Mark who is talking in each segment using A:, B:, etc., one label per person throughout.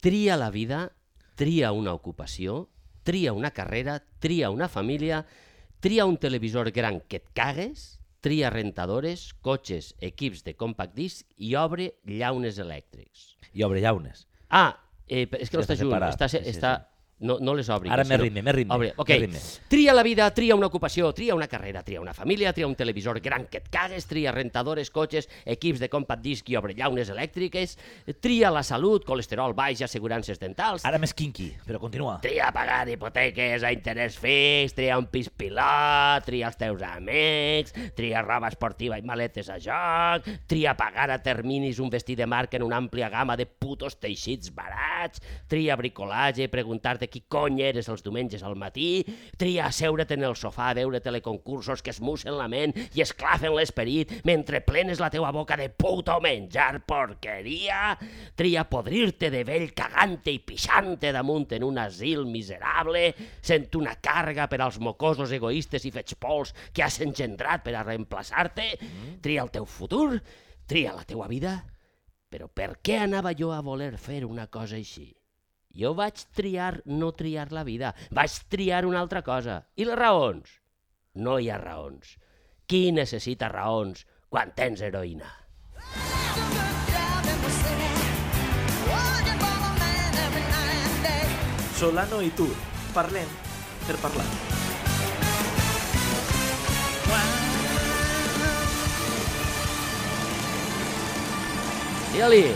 A: tria la vida, tria una ocupació, tria una carrera, tria una família, tria un televisor gran que et cagues, tria rentadores, cotxes, equips de compact disc i obre llaunes elèctrics.
B: I obre llaunes.
A: Ah, eh, però és que no
B: Està
A: està junt,
B: separat.
A: està, se-
B: Sí, sí,
A: està, no, no les obri.
B: Ara
A: que
B: més
A: si no-
B: ritme, més ritme,
A: Obre. Ok,
B: més ritme.
A: tria la vida, tria una ocupació, tria una carrera, tria una família, tria un televisor gran que et cagues, tria rentadores, cotxes, equips de compact disc i obre llaunes elèctriques, tria la salut, colesterol baix, assegurances dentals,
B: Ara més kinky, però continua.
A: Tria pagar hipoteques a interès fix, tria un pis pilot, tria els teus amics, tria roba esportiva i maletes a joc, tria pagar a terminis un vestit de marca en una àmplia gamma de putos teixits barats, tria bricolatge i preguntar-te qui cony eres els diumenges al matí, tria asseure't en el sofà a veure teleconcursos que es mussen la ment i esclafen l'esperit mentre plenes la teua boca de puto menjar porqueria, tria podrir-te de vell cagante i pixante damunt en un asil miserable, sent una càrrega per als mocosos egoistes i fets pols que has engendrat per a reemplaçar-te, tria el teu futur, tria la teua vida, però per què anava jo a voler fer una cosa així? Jo vaig triar no triar la vida, vaig triar una altra cosa. I les raons? No hi ha raons. Qui necessita raons quan tens heroïna?
C: Solano i tu, parlem per parlar.
A: Digue-li,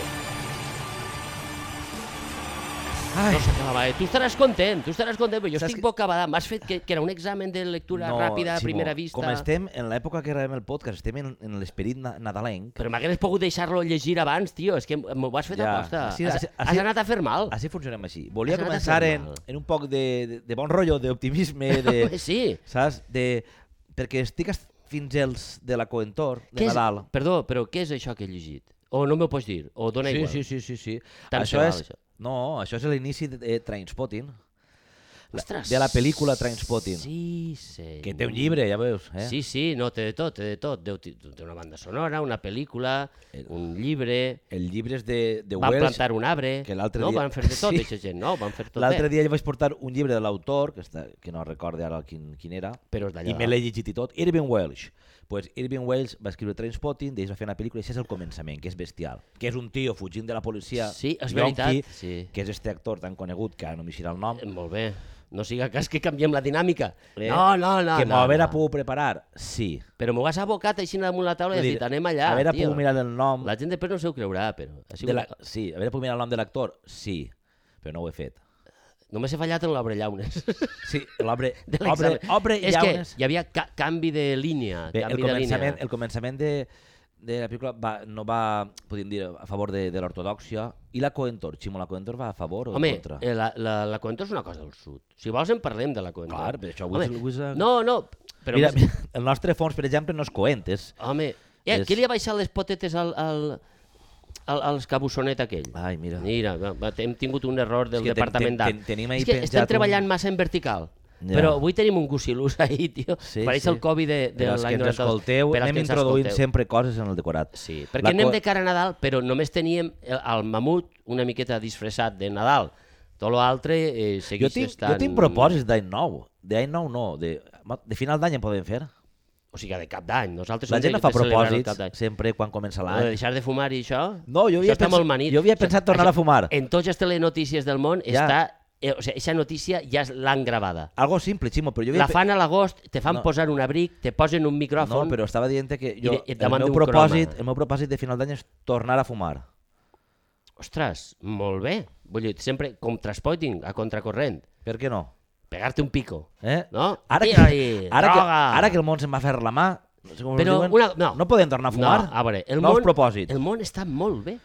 B: Ai,
A: no s'acabava, eh? Tu estaràs content, tu estaràs content, però jo
B: Saps
A: estic
B: que-
A: bocabadà. M'has fet que, que era un examen de lectura ràpida a
B: Ximo,
A: primera vista.
B: Com estem en l'època que gravem el podcast, estem en, en l'esperit na nadalenc,
A: Però m'hagués pogut deixar-lo llegir abans, tio, és que m'ho has fet
B: Ja.
A: aposta.
B: Així-
A: has,
B: així-
A: has
B: així-
A: anat a fer mal.
B: així funcionem així. Volia
A: Has anat a
B: començar
A: fer
B: en,
A: mal.
B: en un poc de, de, de bon rotllo, d'optimisme, de,
A: Sí.
B: saps? De, perquè estic est- fins els de la coentor, de
A: Què és,
B: Nadal.
A: perdó, però què és això que he llegit? O no m'ho pots dir, o dona
B: Sí,
A: igual.
B: sí, sí, sí, sí.
A: Tant se
B: Això
A: val,
B: és,
A: això.
B: no, això és l'inici de, de Trainspotting, la-
A: Ostres.
B: de la pel·lícula Trainspotting,
A: Sí, sí.
B: que té un llibre, ja veus. Eh?
A: Eh? Sí, sí, no, té de tot, té de tot. Deu, ti- té una banda sonora, una pel·lícula,
B: Eh,
A: un llibre...
B: El llibre és de, de
A: Van
B: Wells.
A: plantar un arbre,
B: que l'altre
A: no?
B: dia-
A: Van fer de tot,
B: Sí.
A: aquesta gent, no? Van fer tot
B: L'altre
A: bé.
B: dia jo vaig portar un llibre de l'autor, que, està, que no recorde ara quin, quin era,
A: Però és d'allà.
B: i me l'he llegit i tot, Irving Welsh. Pues Irving Welsh va escriure Trainspotting, d'ells va fer una pel·lícula, i això és el començament, que és bestial. Que és un tio fugint de la policia,
A: Sí, és
B: yonqui,
A: veritat, sí.
B: que és este actor tan conegut, que ara no m'hi girà el nom,
A: Eh, Molt bé. No siga cas que canviem la dinàmica.
B: Eh,
A: No, no, no.
B: que
A: no,
B: m'ho haver
A: no.
B: pogut preparar, sí.
A: Però m'ho has abocat així damunt la taula i
B: Vull
A: has
B: dir,
A: dit, anem allà,
B: haver
A: tio.
B: pogut mirar el nom,
A: La gent després no s'ho creurà, però... Ha sigut...
B: de la, sí, haver pogut mirar el nom de l'actor, sí, però no ho he fet.
A: Només he fallat en l'obra llaunes.
B: Sí, l'obra...
A: de
B: Obre,
A: l'examen.
B: obre
A: és
B: llaunes.
A: que hi havia ca canvi de línia.
B: Bé, el
A: canvi de línia.
B: començament, el començament de, de la pel·lícula va, no va, podríem dir, a favor de, de l'ortodòxia. I la Coentor, Ximo, la Coentor va a favor o
A: Home,
B: en contra?
A: eh, la, la, la Coentor és una cosa del sud. Si vols en parlem de la Coentor.
B: Clar, però això avui
A: Home,
B: és el- avui és la-
A: No, no, però...
B: Mira,
A: Mira,
B: mira, el nostre fons, per exemple, no és coent, és...
A: Home, eh,
B: és-
A: qui li ha baixat les potetes al, al, al, al escabussonet aquell?
B: Ai, mira.
A: Mira, va, va, hem tingut un error del
B: És que ten-
A: departament
B: ten-
A: d'art.
B: ten- tenim ahí
A: És que
B: penjat
A: estem
B: un-
A: treballant massa en vertical.
B: Ja.
A: Però avui tenim un gusilús ahí, tio.
B: Sí,
A: Pareix
B: sí.
A: el Covid de, de
B: per als que
A: l'any 92.
B: ens escolteu,
A: Per als
B: anem
A: que ens
B: introduint
A: escolteu.
B: sempre coses en el decorat.
A: Sí, perquè anem
B: co-
A: de cara a Nadal, però només teníem el, el mamut una miqueta disfressat de Nadal. Tot l'altre eh, segueix
B: Jo tinc,
A: estant...
B: jo tinc propòsits d'any nou. D'any nou no, de, de final d'any en podem fer.
A: O sigui, de cap d'any. Nosaltres
B: La
A: hem
B: gent
A: de-
B: no fa
A: de celebrar el Cap d'Any.
B: propòsits sempre quan comença
A: Ho De
B: l'any.
A: deixar de fumar i això?
B: No, jo havia
A: això està
B: pensat-
A: molt manit.
B: jo havia
A: Això-
B: pensat tornar a fumar.
A: En totes les telenotícies del món
B: Ja.
A: està... Eh, o sigui, aquesta notícia ja és- l'han gravada.
B: Algo simple, Ximo, però jo havia
A: La fan a l'agost, te fan
B: No.
A: posar un abric, te posen un
B: No,
A: micròfon...
B: però estava dient que
A: I
B: jo,
A: de- i et
B: el,
A: demanda
B: meu
A: un
B: propòsit,
A: croma.
B: el meu propòsit de final d'any és tornar a fumar.
A: Ostres, molt bé. Vull dir, sempre com transporting, a contracorrent.
B: Per què no?
A: Pegar-te un pico.
B: Eh?
A: No?
B: Ara, que,
A: Tira-hi,
B: ara, que,
A: droga.
B: ara que el món se'n va fer la mà, no sé com
A: Però
B: es diuen,
A: una- no.
B: no podem tornar a fumar.
A: No, a veure, el
B: Nous
A: món,
B: propòsits.
A: el món està molt bé.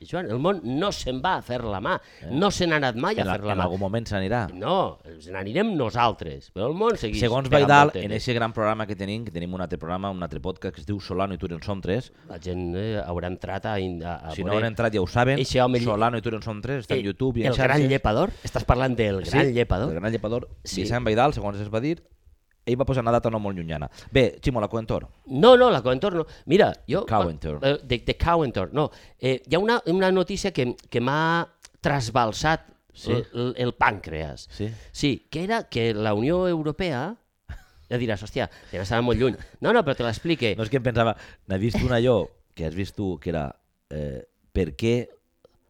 A: Joan, el món no se'n va a fer la mà.
B: Eh?
A: No se n'ha anat mai
B: en,
A: a fer la
B: en
A: mà.
B: algun moment s'anirà.
A: No, ens n'anirem nosaltres, però el món segueix.
B: Segons
A: pegant
B: Baidal,
A: voltetes.
B: en aquest gran programa que tenim, que tenim un altre programa, un altre podcast que es diu Solano i tu en som tres,
A: La gent eh, haurà entrat a... in- a, a
B: si no
A: veure-
B: han entrat ja ho saben,
A: Ah, Eixe home-
B: Solano i tu en som tres, està
A: Eh,
B: en YouTube i en
A: El gran
B: xarxes.
A: llepador? Estàs parlant del gran llepador?
B: El gran llepador,
A: Sí.
B: Vicent Baidal, segons es va dir, ell va posar una data no molt llunyana. Bé, Ximo, la Coentor.
A: No, no, la Coentor no. Mira, jo...
B: Cowentor.
A: Eh, De, de Cowentor, no. Eh, hi ha una, una notícia que, que m'ha trasbalsat eh,
B: Sí.
A: el, el pàncreas.
B: Sí.
A: Sí, que era que la Unió Europea... Ja diràs, hòstia, deve estar molt lluny. No, no, però te l'explique.
B: Eh, No és que em pensava, n'he vist una jo, que has vist tu, que era eh, per què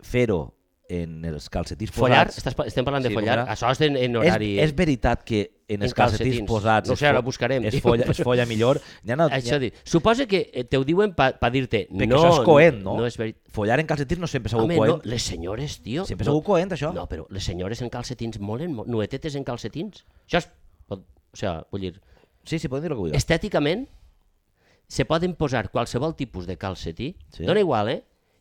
B: fer-ho en els calcetins
A: follar,
B: posats...
A: estàs, pa- estem parlant de
B: Sí,
A: follar,
B: com era?
A: això és en, en horari...
B: És, és veritat que en els
A: En
B: calcetins,
A: calcetins.
B: posats
A: No sé,
B: es fo-
A: ara ho buscarem,
B: es
A: tio,
B: folla, es
A: però-
B: folla millor. N'hi ha, una-
A: Això
B: n'hi
A: dic. Suposa que eh, te ho diuen pa, pa dir-te...
B: Perquè
A: no,
B: això és coent, no?
A: No és veritat.
B: ha, follar en calcetins no sempre s'ha
A: Home,
B: coent.
A: no, les senyores, tio...
B: Sempre
A: no,
B: segur coent, això.
A: No, però les senyores en calcetins molen molt, nuetetes en calcetins. Això és... O sigui, vull dir,
B: Sí, sí, poden dir el que vulguis.
A: estèticament se poden posar qualsevol tipus de calcetí,
B: Sí.
A: sí. dona igual, eh?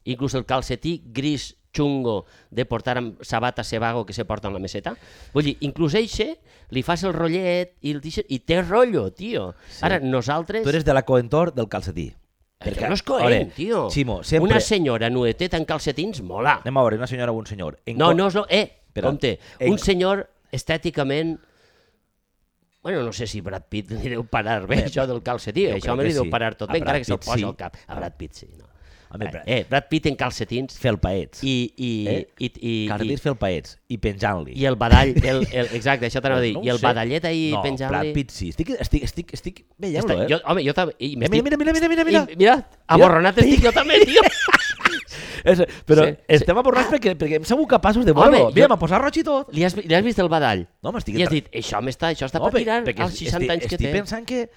A: Inclús el calcetí gris xungo de portar amb sabata sebago que se porta en la meseta. Vull dir, inclús eixe, li fas el rotllet i, el deixes, i té rotllo, tio. Sí. Ara, nosaltres...
B: Tu eres de la coentor del calcetí.
A: Perquè no és
B: a veure,
A: coherent, tio.
B: Ximo, sempre...
A: Una senyora nueteta en calcetins mola.
B: Anem a veure, una senyora o un senyor. En
A: No,
B: co-
A: no, no, eh,
B: Espera.
A: Espera. compte,
B: En-
A: un senyor estèticament... Bueno, no sé si Brad Pitt li deu parar bé, això del calcetí,
B: jo
A: això
B: crec
A: me
B: que
A: li deu
B: sí.
A: parar tot
B: A
A: bé, encara
B: Brad
A: que se'l
B: Pitt
A: posa
B: sí.
A: al cap. A Brad Pitt sí, no.
B: Home, Brad-
A: eh, Brad Pitt en calcetins
B: Fer el paets.
A: i, i,
B: Eh?
A: i, i, i,
B: Calcetins fer el paets i penjant-li.
A: i el badall, el, el, exacte, això t'anava a dir,
B: No ho
A: i el
B: sé.
A: badallet ahir
B: no,
A: penjant-li...
B: Brad Pitt sí. Estic, estic, estic, estic veient-lo,
A: Està-
B: eh?
A: jo, home, jo també... i
B: Mira,
A: m'estic-
B: mira, mira, mira, mira, mira.
A: i- mira, aborronat estic jo també, tio.
B: És, però
A: Sí,
B: sí, estem avorrats perquè, perquè em segur capaços de
A: Home,
B: veure-ho.
A: jo-
B: Mira, m'ha posat roig i tot.
A: Li has, li has vist el badall?
B: No, m'estic...
A: I has dit, això m'està, això està
B: No,
A: no, per
B: per-
A: tirar
B: perquè
A: als 60
B: estic,
A: anys que
B: estic
A: té.
B: pensant que,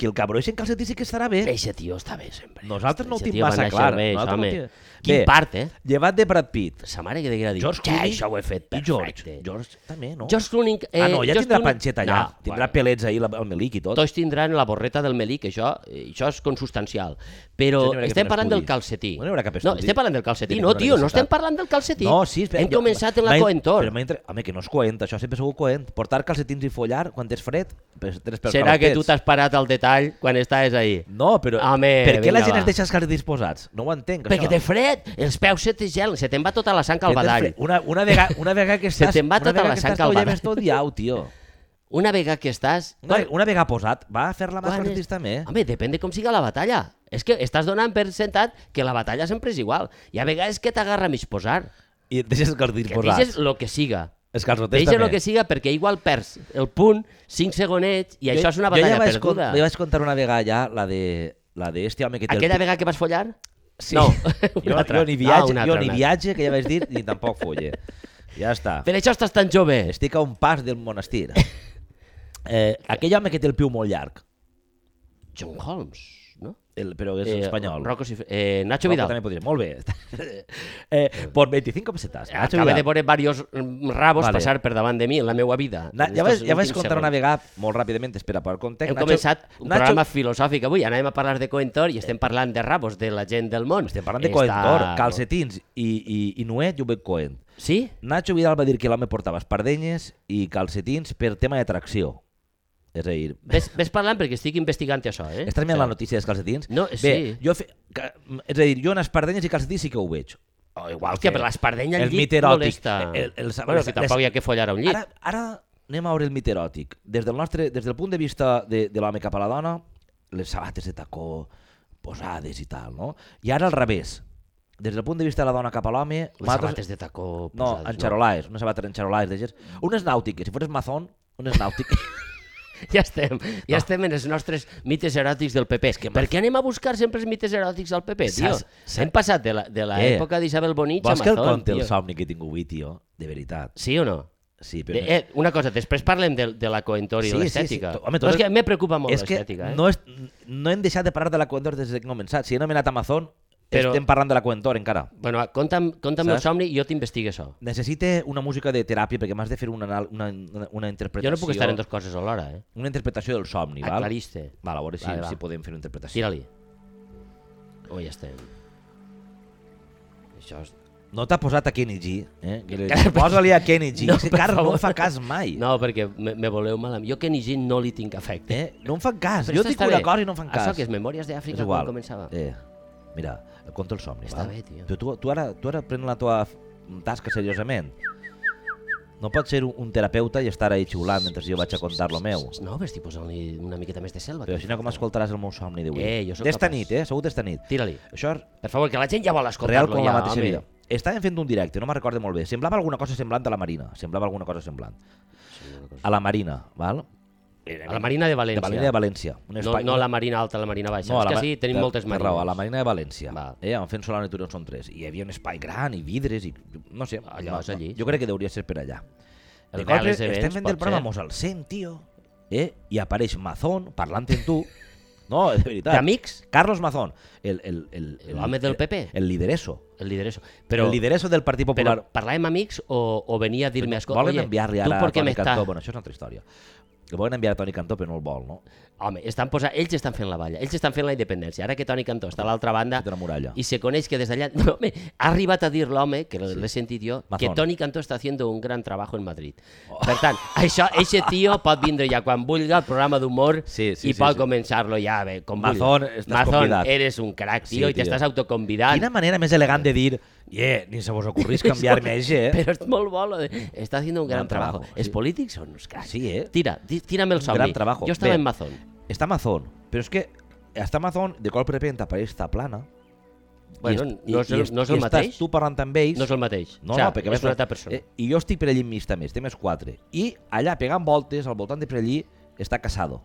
B: que el cabró eixen calcetí sí que estarà bé.
A: Eixe tio està bé sempre.
B: Nosaltres no ho
A: Eixe
B: tinc
A: tio va
B: massa
A: néixer
B: clar,
A: Bé, això,
B: nosaltres no
A: home.
B: ho tinc-
A: Quin
B: Bé.
A: part, eh?
B: Llevat de Brad Pitt.
A: Sa mare que deguera dir,
B: George
A: ja,
B: Clooney
A: això ho he fet
B: I
A: perfecte.
B: George. George també, no?
A: George Clooney... Eh,
B: ah, no, ja
A: George
B: tindrà
A: Clooney-
B: panxeta allà.
A: No,
B: tindrà
A: bueno,
B: pelets ahir la- el melic i tot.
A: tots tindran la borreta del Melic, això, eh, això és consustancial. Però
B: No hi haurà cap
A: estem parlant del
B: estudi.
A: calcetí.
B: No hi haurà cap
A: no,
B: estudi.
A: estem parlant del calcetí.
B: Tiene que
A: No,
B: haver
A: tio, no
B: necessitat.
A: estem parlant del calcetí.
B: No, sí, espera,
A: Hem
B: jo-
A: començat en la
B: m'ha-
A: coentor.
B: Però mentre, home, que no és coent, això sempre ha sigut coent. Portar calcetins i follar quan tens fred. Pues, tens pels
A: Serà que
B: calentets.
A: tu t'has parat al detall quan estaves ahir?
B: No, però
A: Home,
B: per què la
A: vinga,
B: gent
A: va.
B: es deixa els calcetins posats? No ho entenc,
A: Perquè
B: això.
A: té fred, els peus se te gelen, se te'n va tota la sang
B: Que
A: al
B: tens
A: badall.
B: fred. Una, una, vega, una vegada que
A: Se
B: estàs...
A: te'n va
B: una
A: tota
B: vegada
A: la
B: que
A: sang
B: estàs
A: al
B: tot
A: badall.
B: lleves tot diau, tio.
A: Una vegada que estàs...
B: Una, vegada- una vegada posat, va a fer la mà
A: Quan
B: calcetins també.
A: Home, depèn de com siga la batalla. És que estàs donant per sentat que la batalla sempre és igual. I a vegades que t'agarra mig posar.
B: I et deixes els calcetins
A: Que
B: posats.
A: deixes lo que siga.
B: Els calçotets
A: Deixes
B: també.
A: lo que siga perquè igual perds el punt, 5 segonets, i això és una batalla
B: jo ja vaig
A: perduda.
B: Con, jo vaig contar una vegada ja la de la de este home que té
A: Aquella
B: el...
A: vegada que vas follar?
B: Sí.
A: No,
B: jo,
A: una altra.
B: jo ni viatge,
A: No, una
B: jo
A: altra,
B: ni
A: una
B: viatge, que ja vaig dir, ni tampoc folle. Ja està.
A: Per això estàs tan jove.
B: Estic a un pas del monestir. Eh, aquell home que té el piu molt llarg,
A: John Holmes, no?
B: el, però és eh, espanyol.
A: Rocco, Cif- eh, Nacho
B: Rocco
A: Vidal.
B: També podria, molt bé. eh, por 25 pesetas. Nacho
A: Acabé Eh, de veure
B: Vidal.
A: diversos mm, rabos
B: Vale.
A: passar per davant de mi en la meva vida.
B: Na,
A: en
B: ja
A: estos
B: vaig, ja vaig
A: últims
B: contar una
A: segons.
B: vegada, molt ràpidament, espera, per context.
A: Hem començat un Nacho... programa filosòfic avui, anàvem a parlar de Coentor i estem parlant de rabos de la gent del món.
B: Estem parlant de
A: Està-
B: coentor, calcetins i, i, i nuet, jo veig coent.
A: Sí?
B: Nacho Vidal va dir que l'home portava espardenyes i calcetins per tema de tracció. És a dir,
A: Ves, ves parlant perquè estic investigant això, eh?
B: estàs mirant la notícia dels calcetins?
A: No,
B: Bé,
A: sí.
B: jo fe... ca- és a dir, jo en espardenyes i calcetins sí que ho veig.
A: Oh, igual que per l'espardenya
B: El
A: al llit
B: mite eròtic.
A: molesta.
B: El- el- el-
A: bueno,
B: les-
A: que tampoc hi ha que follar a un llit.
B: Ara, ara anem a veure el mite eròtic. Des del, nostre, des del punt de vista de, de l'home cap a la dona, les sabates de tacó posades i tal, no? I ara al revés. Des del punt de vista de la dona cap a l'home...
A: Les
B: nosaltres-
A: sabates de tacó
B: No,
A: posades,
B: enxarolades, unes sabates enxarolades. d'aquelles. Unes nàutiques, si fores mazón, unes nàutiques.
A: Ja estem, ja estem en els nostres mites eròtics del PP. Que per què anem a buscar sempre els mites eròtics al PP, tio?
B: Saps- saps-
A: Hem passat de la- de
B: Eh,
A: l'època d'Isabel Bonich a
B: Vols que el
A: Mazón,
B: conte el
A: tio.
B: somni que he tingut avui, tio? De veritat.
A: Sí o no?
B: Sí, però...
A: De, eh, una cosa, després parlem de, de la coentor i
B: Sí, sí,
A: l'estètica.
B: sí, to-
A: Sí, sí.
B: home,
A: No,
B: tot-
A: és que me preocupa molt
B: és que
A: l'estètica, eh?
B: no, és, no hem deixat de parlar de la Coentor des que hem començat. Si he anomenat Amazon,
A: Però-
B: estem parlant de la Coentor encara.
A: Bueno, conta'm, conta'm el
B: Saps?
A: somni i jo t'investigue això.
B: Necessite una música de teràpia perquè m'has de fer una, anal- una, una, una
A: Jo
B: interpretació...
A: no puc estar en dues coses alhora, eh?
B: Una interpretació del somni, val?
A: Aclariste.
B: Val, a veure si,
A: Vale,
B: vale,
A: va.
B: si podem fer una interpretació.
A: Tira-li. Oh, ja estem. Això és...
B: No t'ha posat a Kenny G, eh? Que li...
A: Encara-
B: Posa-li a Kenny G.
A: No,
B: No, que encara
A: per
B: no em
A: favor.
B: fa cas mai.
A: No, perquè me, me voleu malament. Jo Kenny Jean no li tinc afecte.
B: Eh? No em fan cas.
A: Però
B: jo
A: això
B: dic
A: està
B: una
A: bé.
B: cosa i no em fan cas.
A: Això que és Memòries d'Àfrica quan començava. Eh.
B: Eh, mira, et conto el somni,
A: Està
B: val?
A: bé, tio.
B: Però tu, tu, ara, tu ara pren la teva f- tasca seriosament. No pots ser un, un terapeuta i estar ahí xiulant mentre jo vaig a contar lo meu.
A: No, però estic posant-li una miqueta més de selva.
B: Però si no, com escoltaràs el meu somni d'avui?
A: Eh, jo sóc
B: D'esta
A: capaç.
B: nit, eh? Segur d'esta nit.
A: Tira-li.
B: Això és
A: Per favor, que la gent ja vol escoltar-lo.
B: real com
A: ja,
B: la mateixa
A: home.
B: vida. estàvem fent un directe, no me'n recordo molt bé, semblava alguna cosa semblant a la Marina, semblava alguna cosa semblant. A la Marina, val?
A: A la Marina de València.
B: De València, de València. Un
A: No, no la Marina alta, la Marina baixa. No, és
B: a eh? la
A: que
B: Ma-
A: sí, tenim
B: té-
A: moltes
B: té
A: marines.
B: Raó, a la Marina de València.
A: Val.
B: Eh, en fent Solana i Turó són tres. I hi havia un espai gran i vidres i no sé.
A: Allò
B: no,
A: és allí,
B: no,
A: sí.
B: Jo crec que hauria de ser per allà.
A: El
B: de cop,
A: Vélez Events,
B: estem fent
A: pot
B: el programa,
A: ser.
B: mos el sent, tio, eh? i apareix Mazón parlant amb tu. No, de veritat.
A: D'amics?
B: Carlos Mazón, el, el, el, el,
A: L'home del PP?
B: El, lidereso.
A: El lidereso. Però,
B: el lidereso del Partit Popular.
A: però parlàvem amics o, o venia a dir-me... "Escolta,
B: Volen
A: oye,
B: enviar-li
A: tu
B: ara
A: per
B: a
A: què
B: Toni
A: m'està-
B: Cantó. Bueno, això és una altra història. Que volen enviar a Toni Cantó, però no el vol, no?
A: Home, estan posa... ells estan fent la balla, ells estan fent la independència. Ara que Toni Cantó està a l'altra banda
B: Feta una muralla.
A: i se coneix que des d'allà... No, home, ha arribat a dir l'home, que l'he sentit jo,
B: Mazón.
A: que Toni Cantó està fent un gran treball en Madrid.
B: Oh.
A: Per tant, això, eixe tio pot vindre ja quan vulgui al programa d'humor
B: Sí, sí,
A: i
B: sí,
A: pot
B: sí.
A: començar-lo ja bé, com
B: Mazón,
A: vulgui.
B: estàs
A: Mazón,
B: convidat.
A: eres un crac,
B: Sí,
A: tio, i
B: tio.
A: t'estàs autoconvidant.
B: Quina manera més elegant de dir yeah, ni se vos ocorrís canviar-me a eh?
A: Però és molt bo, lo de... està fent un gran,
B: Gran trabajo,
A: treball. Els
B: sí.
A: polítics són uns cracs.
B: Sí, eh?
A: Tira, di- tira'm el
B: Un
A: somni.
B: gran trabajo.
A: Jo estava
B: Bé.
A: en Mazón.
B: Està Amazon, però és que està Amazon, de cop i repente apareix esta plana.
A: Bueno,
B: est-
A: no és el-
B: est-
A: no és el
B: i
A: mateix?
B: Estàs tu parlant amb ells.
A: No és el mateix.
B: No,
A: o sigui,
B: no, perquè a més
A: és una altra persona.
B: Eh, I jo estic per allí mig també, estem els quatre. I allà, pegant voltes, al voltant de per allí, està Casado.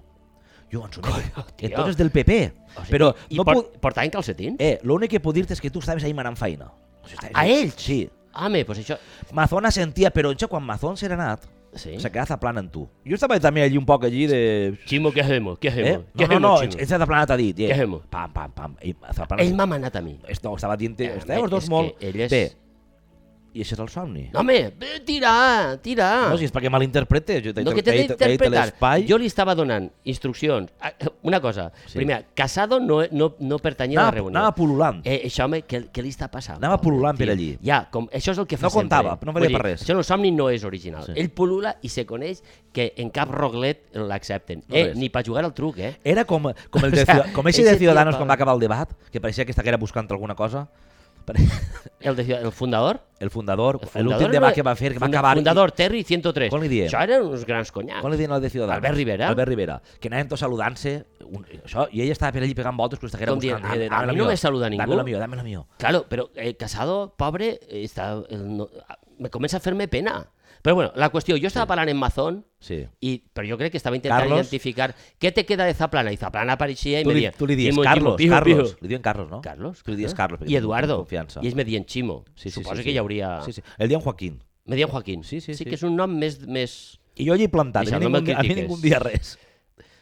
B: Jo, ens uneix.
A: tio.
B: Entonces del PP. però
A: I
B: no
A: por,
B: puc...
A: portaven calcetins?
B: Eh, l'únic que puc dir-te és que tu estaves ahí manant feina. O sigui, estaves
A: A
B: ahí-
A: ells?
B: Sí.
A: Home, doncs això...
B: Mazón assentia, però això, quan Mazón s'era anat,
A: Sí.
B: s'ha quedat a plana amb tu. Jo estava també allí un poc allí de...
A: Chimo, què hacemos? Què
B: Eh?
A: hacemos?
B: No, no, no, ets de Planat ha dit. eh.
A: Què hacemos?
B: Pam, pam, pam. I Zaplana...
A: Ell m'ha manat a mi.
B: Es- No, estava dient...
A: Eh,
B: Estàvem els
A: és
B: dos
A: que
B: molt...
A: ell és-
B: Bé, i això és el somni.
A: No, home, eh, tira, tira.
B: No, si és perquè malinterpretes. Jo t'he
A: No, Ah. que
B: t'he
A: t'he
B: dit- t'he dit
A: d'interpretar.
B: l'espai.
A: Jo li estava donant instruccions. Ah, eh, Una cosa,
B: Sí.
A: primer, Casado no, no, no pertanyia a la
B: Anava-
A: reunió.
B: anava pul·lulant.
A: Eh, això, home, què, què li està passant?
B: Anava
A: pobre,
B: pul·lulant per
A: tio?
B: allí.
A: Ja, com, això és el que fa
B: No comptava,
A: sempre.
B: no valia
A: Vull dir,
B: per res.
A: Això en el somni no és original.
B: Sí.
A: Ell pul·lula i se coneix que en cap roglet l'accepten.
B: No
A: eh,
B: res.
A: ni per jugar al truc, eh?
B: Era com, com, el de,
A: O sea,
B: Ciu- com eixe
A: ese
B: de
A: tio,
B: Ciudadanos
A: Pablo.
B: quan va acabar el debat, que pareixia que estiguera buscant alguna cosa. Pare-
A: El, de, el fundador?
B: El fundador,
A: fundador
B: l'últim
A: no
B: debat
A: era-
B: que va fer, que va
A: funda-
B: acabar... i-
A: Fundador, Terry 103.
B: Com li diem?
A: Això eren uns grans conyats.
B: Com li deien al de Ciudadanos?
A: Albert Rivera?
B: Albert Rivera. Que anaven tots saludant-se, un, això, i ell estava per allí pegant voltes, que estiguera
A: Com dient,
B: buscant...
A: a-
B: eh,
A: a
B: dame la
A: mi no
B: mía,
A: me saluda ningú.
B: Dame la mía, dame la mía.
A: Claro, pero eh, Casado, pobre, eh, está, eh, no, ah, me comienza a hacerme pena. Pero bueno, la cuestión, yo estaba parlant en Mazón,
B: Sí.
A: i, però jo crec que estava intentant
B: Carlos?
A: identificar què te queda de Zaplana. I Zaplana apareixia i
B: Tu
A: me
B: li,
A: deia...
B: tu li dius
A: "Chimo, Chimo,
B: Carlos,
A: pijo,
B: Carlos.
A: pijo".
B: Li diuen Carlos, no?
A: Carlos?
B: Tu li dius
A: clar.
B: Carlos. perquè
A: I
B: tens
A: Eduardo.
B: Confiança.
A: I ells me deien Chimo.
B: Sí, sí,
A: Suposo
B: sí,
A: que
B: sí.
A: hi hauria...
B: Sí, sí. El dia en Joaquín.
A: Me deien Joaquín.
B: Sí, sí, sí.
A: que és un nom més... més...
B: I jo allí plantat.
A: I això
B: A mi,
A: no me
B: ningú, a mi
A: critiques.
B: ningú em dia res.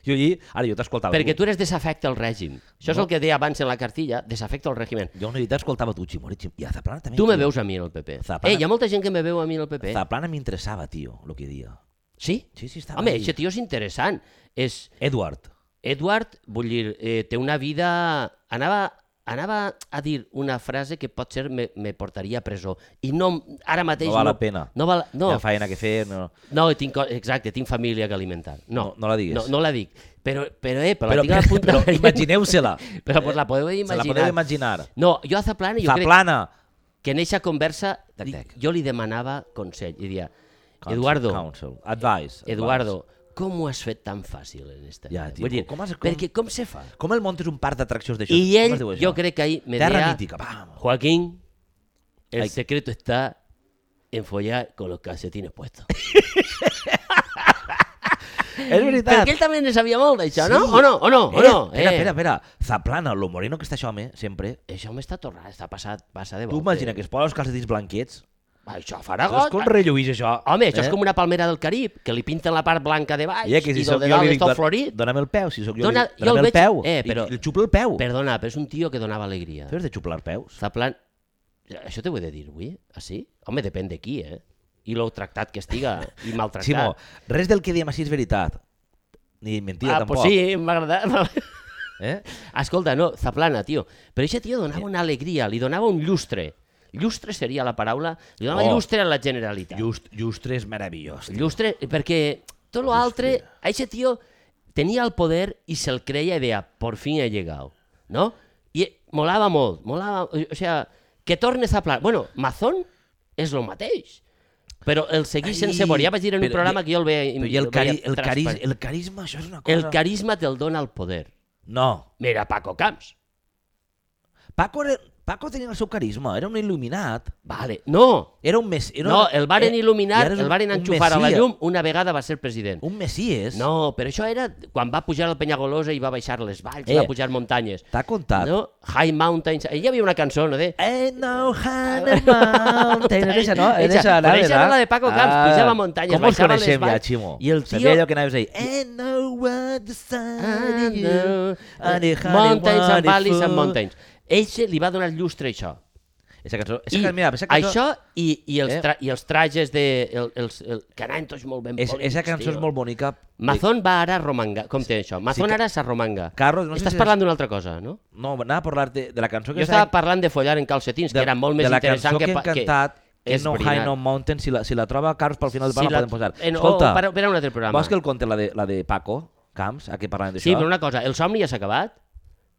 B: Jo allí... Ara, jo t'escoltava.
A: Perquè tu eres desafecte al règim. Això és
B: No.
A: el que deia abans en la cartilla, desafecte al règim.
B: Jo en realitat escoltava tu, Ximori, Xim... I a Zaplana també...
A: Tu me
B: tio.
A: veus eh? a mi en el PP.
B: Zaplana-
A: Eh, hi ha molta gent que me veu a mi en el PP.
B: Zaplana m'interessava, tio, el que dia.
A: Sí?
B: Sí, sí, estava
A: Home,
B: allí.
A: aquest tio és interessant. És,
B: Edward.
A: Edward, vull dir, eh, té una vida... Anava, anava a dir una frase que potser me, me portaria a presó. I no, ara mateix...
B: No val la pena.
A: No, val,
B: No.
A: no,
B: La feina que feia... No.
A: no tinc, co- exacte, tinc família que alimentar. No,
B: No- no la diguis.
A: No, no la dic. Però, però eh, però, la
B: Però,
A: tinc a la
B: però,
A: punta...
B: però imagineu-se-la.
A: Però pues, la podeu
B: Se la
A: imaginar.
B: podeu imaginar.
A: No, jo a Zaplana, jo crec
B: Zaplana.
A: que en eixa conversa
B: Tac,
A: li-
B: tac.
A: jo li demanava consell. I dia,
B: Counsel,
A: Eduardo,
B: Counsel. Advice.
A: Eduardo, com ho has fet tan fàcil en esta
B: Ja,
A: vida?
B: tio,
A: Vull dir,
B: com has- com-
A: Perquè com se fa?
B: advice. Com el montes un parc d'atraccions d'això?
A: I
B: Com
A: ell,
B: es diu això?
A: jo crec que ahí me
B: Terra
A: dirá,
B: mítica, vamos.
A: Joaquín, el
B: Ay.
A: secreto está en follar con los calcetines puestos.
B: És veritat.
A: Perquè ell també ne sabia molt d'això, no? O no? O no? O
B: eh,
A: no?
B: Espera,
A: eh.
B: espera, espera. Zaplana, lo moreno que està això, home, sempre.
A: Això m'està tornant, està passat, passa de
B: Tu
A: volta.
B: imagina que es posa els calcetins blanquets.
A: Això farà
B: Saps
A: got.
B: com relluís això?
A: Home, això és com una palmera del Carib, que li pinten la part blanca de baix
B: I, eh, que si
A: Eh? i
B: sóc
A: del de
B: jo li
A: dalt
B: dic,
A: és tot
B: "Don-
A: florit.
B: Dona'm el peu, si sóc jo.
A: Dona-
B: Dona,
A: jo el
B: dona'm el
A: veig-
B: peu.
A: eh,
B: I-
A: però-
B: I, el xupo el peu. Per...
A: Perdona, però és un tio que donava alegria.
B: Tu has de xuplar peus?
A: Està plan... Això t'ho he de dir avui, ah, sí? Home, depèn de qui, eh? I l'ho tractat que estiga, i maltractat.
B: Ximo, res del que diem així és veritat. Ni mentida,
A: ah,
B: tampoc.
A: pues sí, m'ha agradat.
B: Eh?
A: Escolta, no, Zaplana, tio. Però aquest tio donava una alegria, li donava un llustre. Llustre seria la paraula. Li donava oh.
B: Oh.
A: llustre a la Generalitat.
B: Just, justre és meravellós. tio.
A: Llustre, perquè tot l'altre, aquest tio tenia el poder i se'l creia i deia, por fin he llegado, no? I molava molt, molava, o, o sea, que tornes a pla... Bueno, Mazón és el mateix, però el seguís sense
B: Ai,
A: veure. Ja vaig dir en un
B: però
A: programa
B: i-
A: que jo el veia... el
B: Però i el,
A: veia
B: cari el, cari
A: transparent.
B: el carisma, això és una cosa...
A: el carisma te'l dona el poder.
B: No.
A: Mira Paco Camps.
B: Paco era... Paco tenia el seu carisma, era un il·luminat.
A: Vale. No,
B: Era un mes... Era
A: no, el varen
B: eh, i
A: il·luminar,
B: ara és
A: el
B: un-
A: varen
B: un
A: enxufar a la
B: messies.
A: llum, una vegada va ser president.
B: Un messies.
A: No, però això era quan va pujar al Penyagolosa i va baixar les valls,
B: Eh.
A: va pujar muntanyes.
B: T'ha contat.
A: No? High Mountains. Hi havia una cançó, no? De...
B: Ain't no hand in mountain. Era això, no? Ah, Era
A: Eixa-
B: això,
A: però eixa era la de Paco Camps, pujava muntanyes,
B: Com els
A: baixava les
B: coneixem ja,
A: valls,
B: Ximo?
A: i el
B: Sabia
A: tio-
B: allò que anaves ahir. Ain't no what the sun in you. and the honey
A: Ah, eh, Mountains and
B: wonderful.
A: valleys and mountains. Eixe li va donar llustre a això.
B: Esa cançó, esa,
A: I
B: cançó- mira, esa cançó,
A: això i, i, els
B: Eh.
A: tra i els trajes de... El, els, el, que anaven tots molt ben
B: és,
A: polits,
B: esa cançó és
A: tio.
B: molt bonica.
A: Mazón va ara a Romanga. Com té això? Mazón
B: que-
A: ara s'arromanga.
B: Carlos, no sé
A: Estàs
B: si és-
A: parlant d'una altra cosa, no?
B: No, anava a parlar de, de la cançó
A: Jo
B: que
A: estava parlant de follar en calcetins, que era molt més
B: de la
A: interessant
B: cançó que,
A: que...
B: hem
A: pa-
B: cantat,
A: que és
B: No High
A: brillant.
B: No Mountain, si la, si la troba Carlos pel final del programa
A: la-
B: la podem posar.
A: Eh, no,
B: Escolta,
A: per, per a un altre programa.
B: vols que el conte la de, la de Paco Camps, a què parlàvem d'això?
A: Sí, però una cosa, el somni ja s'ha acabat?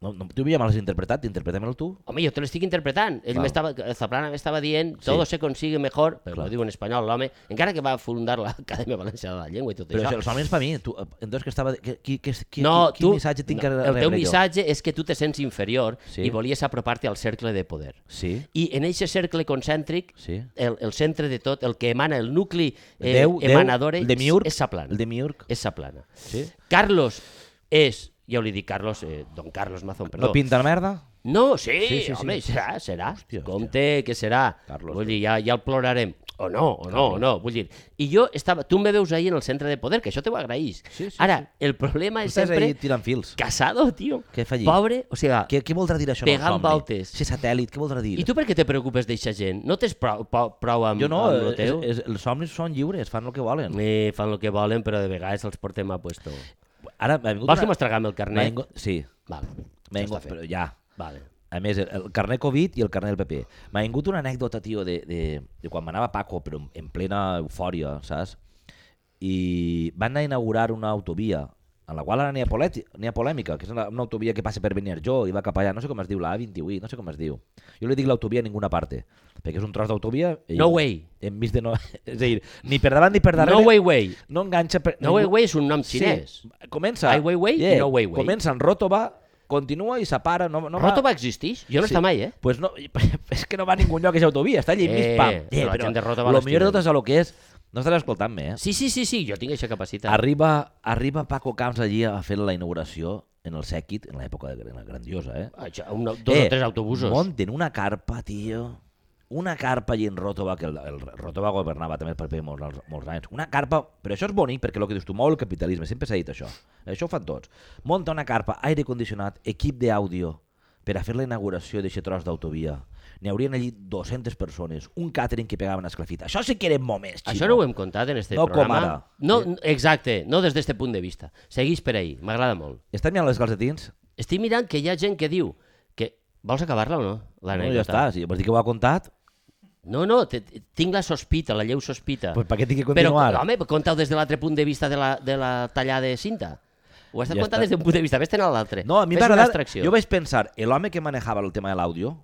B: no, no, tu ja me l'has interpretat, interpretem-lo tu.
A: Home, jo te l'estic interpretant. Ell
B: Val.
A: m'estava, Zaplana m'estava dient,
B: Sí.
A: todo se consigue mejor, però
B: Clar.
A: ho diu en espanyol l'home, encara que va fundar l'Acadèmia Valenciana de la Llengua i tot
B: Però
A: això.
B: això, els somnis per mi, tu, eh, entonces que estava... Que, qui, qui, qui,
A: no,
B: qui,
A: tu,
B: quin missatge tinc
A: no,
B: que
A: el teu
B: rebre
A: missatge és que tu te sents inferior
B: Sí.
A: i volies apropar-te al cercle de poder.
B: jo? Sí,
A: I en aquest cercle concèntric,
B: sí.
A: el, el centre de tot, el que emana, el nucli eh,
B: Déu, Déu,
A: emanador
B: el de Miurg,
A: és Eh, sa plana.
B: El de Miurg,
A: És sa plana.
B: sí.
A: Carlos és, ja ho li dic Carlos, eh, don Carlos Mazón, perdó.
B: No pinta la merda?
A: No, sí,
B: Sí,
A: sí,
B: sí, sí.
A: sí home, serà, serà. Hòstia,
B: Hòstia, hòstia.
A: Compte, que serà.
B: Carlos,
A: vull dir, ja, ja el plorarem. O no, o no, o no, vull dir. I jo estava... Tu me veus ahir en el centre de poder, que això te ho agraís.
B: Sí, sí,
A: Ara, el problema
B: Tu
A: és
B: estàs
A: sempre...
B: ahí tirant fils.
A: Casado, tio.
B: Què fa allí?
A: Pobre, o sigui...
B: Què, què voldrà dir això? en el
A: Pegant
B: somni?
A: voltes.
B: Sí, satèl·lit, què voldrà dir?
A: I tu per què te preocupes d'eixa gent? No tens prou, po- prou amb,
B: Jo no, eh,
A: amb lo
B: és,
A: teu?
B: és, els somnis són lliures, fan el que volen.
A: Eh, fan el que volen, però de vegades els portem a puesto.
B: Ara m'ha vingut...
A: Vols que
B: una-
A: mostragam el
B: m'ha
A: carnet?
B: vingut- Sí,
A: Vale.
B: m'ha
A: Ja està
B: vingut,
A: fet.
B: però ja.
A: Vale.
B: A més, el, el carnet Covid i el carnet del PP. M'ha vingut una anècdota, tio, de, de, de quan m'anava Paco, però en, en plena eufòria, saps? I van anar a inaugurar una autovia en la qual ara n'hi ha, polèti- n'hi ha polèmica, que és una, una autovia que passa per Beniarjó i va cap allà, no sé com es diu, la A28, no sé com es diu. Jo li dic l'autovia a ninguna parte, perquè és un tros d'autovia... i-
A: No way.
B: Enmig de no... És a dir, ni per davant ni per darrere...
A: No way way.
B: No enganxa... Per...
A: No way way és un nom xinès.
B: Sí. Comença...
A: Ai Weiwei i No Weiwei.
B: Comença en Ròtova, continua i separa... No, no
A: Roto
B: va...
A: va existeix? Jo no està mai, eh?
B: Pues no, és que no va a ningú lloc, és autovia, està allà enmig,
A: Eh,
B: pam.
A: però la gent de Ròtova
B: lo
A: l'estima.
B: millor de tot és el que és... No estàs escoltant-me, eh?
A: Sí, sí, sí, sí, jo tinc aquesta capacitat.
B: Arriba, arriba Paco Camps allí a fer la inauguració en el sèquit, en l'època de en la grandiosa, eh?
A: Això, un, dos o tres autobusos.
B: Monten una carpa, tio. Una carpa allí en Ròtova, que el, el Ròtova governava també el PP molts, als- molts anys. Una carpa, però això és bonic perquè el que dius tu mou el capitalisme, sempre s'ha dit això. Això ho fan tots. Monta una carpa, aire condicionat, equip d'àudio per a fer la inauguració d'aquest tros d'autovia. N'hi haurien allí 200 persones, un càtering que pegaven a esclafit. Això sí que eren moments, Ximo.
A: Això no ho hem contat en este
B: No com
A: programa.
B: ara.
A: No, n- exacte, no des d'este punt de vista. Seguís per ahí, m'agrada molt.
B: Estàs mirant les calcetins?
A: Estic mirant que hi ha gent que diu que... Vols acabar-la o no?
B: No, ja
A: l'anècdota?
B: està, si vols dir que ho ha contat,
A: No, no, te, te- tinc la sospita, la lleu sospita.
B: pues per què tinc que
A: Ah. Però,
B: continuar?
A: home, conta-ho des de l'altre punt de vista de la, de la tallada de cinta. Ho has de
B: Ja
A: ja contar
B: està.
A: des d'un punt de vista, vés-te'n a l'altre.
B: No, a mi
A: Fes
B: m'ha
A: una
B: agradat...
A: abstracció.
B: Jo vaig pensar, l'home que manejava el tema de l'àudio,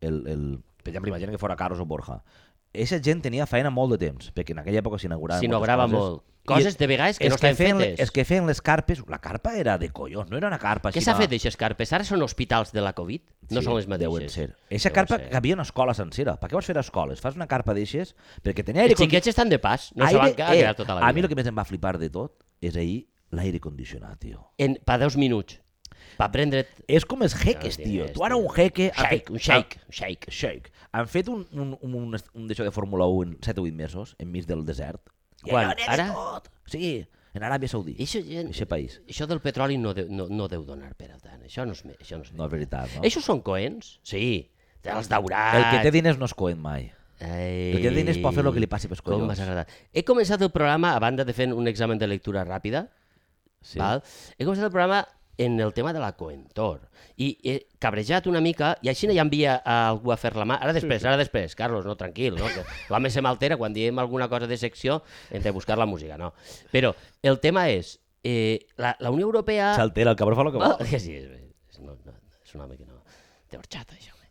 B: el, el, per exemple, imagina que fora Carlos o Borja, aquesta gent tenia feina molt de temps, perquè en aquella època s'inaugurava
A: S'inaugurava molt. Coses de vegades que no estan fetes.
B: És que feien les carpes, la carpa era de collons, no era una carpa
A: Què
B: així,
A: s'ha
B: no.
A: fet d'aixes carpes? Ara són hospitals de la Covid? No són les mateixes.
B: Deuen ser. Eixa
A: Deuen
B: carpa
A: ser.
B: que havia una escola sencera. Per què vas fer escoles? Fas una carpa d'eixes perquè tenia aire
A: Els xiquets estan de pas, no se
B: aire-
A: van quedar eh, tota la vida.
B: a mi el que més em va flipar de tot és ahir l'aire condicionat, tio.
A: en, pa 10 minuts. Pa prendre...
B: És com els jeques,
A: No
B: tio.
A: tienes,
B: Tu ara
A: tio.
B: un jeque... ha fet-
A: Shake, un shake, un shake.
B: Shake. Han fet un, un, un, un, un d'això de Fórmula 1 en 7 o 8 mesos, enmig del desert. I
A: Quan?
B: allò neva
A: Ara?
B: Tot. Sí, en Aràbia Saudí.
A: Això, gent,
B: Eixe país.
A: això del petroli no deu, no, no deu donar per a tant. Això no és, me- això no és
B: No és veritat, no?
A: Això són coents? Sí. Els daurats.
B: El que té diners no és coent mai.
A: Ei,
B: el que té diners pot fer lo que li passi pels collons.
A: Com m'has agradat. He començat el programa, a banda de fent un examen de lectura ràpida,
B: Sí.
A: Val? He començat el programa en el tema de la coentor i he cabrejat una mica i així ja envia a algú a fer la mà ara després, ara després, Carlos, no, tranquil no? que l'home se m'altera quan diem alguna cosa de secció hem de buscar la música, no però el tema és eh, la, la Unió Europea
B: S'altera, el cabró fa el que
A: vol,
B: vol.
A: que sí, és, és, no, no, és un home que no té horxata això home.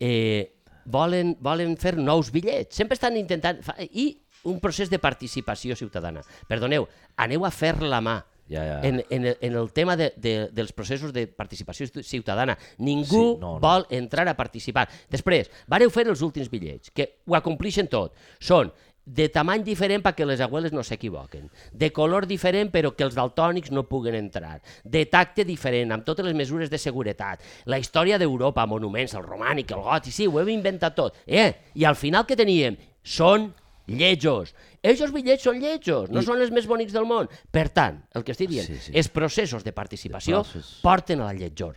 A: eh, volen, volen fer nous bitllets sempre estan intentant fa, i un procés de participació ciutadana perdoneu, aneu a fer la mà
B: Ja, ja.
A: en, en, el, en el tema de, de, dels processos de participació ciu- ciutadana. Ningú
B: Sí, no, no.
A: no, vol entrar a participar. Després, vareu fer els últims bitllets, que ho acomplixen tot. Són de tamany diferent perquè les abueles no s'equivoquen, de color diferent però que els daltònics no puguen entrar, de tacte diferent, amb totes les mesures de seguretat, la història d'Europa, monuments, el romànic, el gòtic, sí, ho hem inventat tot. Eh? I al final que teníem? Són lletjos. Ells bitllets són lletjos, no
B: I-
A: són els més bonics del món. Per tant, el que estic dient
B: Sí, sí.
A: els processos de participació
B: Els processos.
A: porten a la lletjor.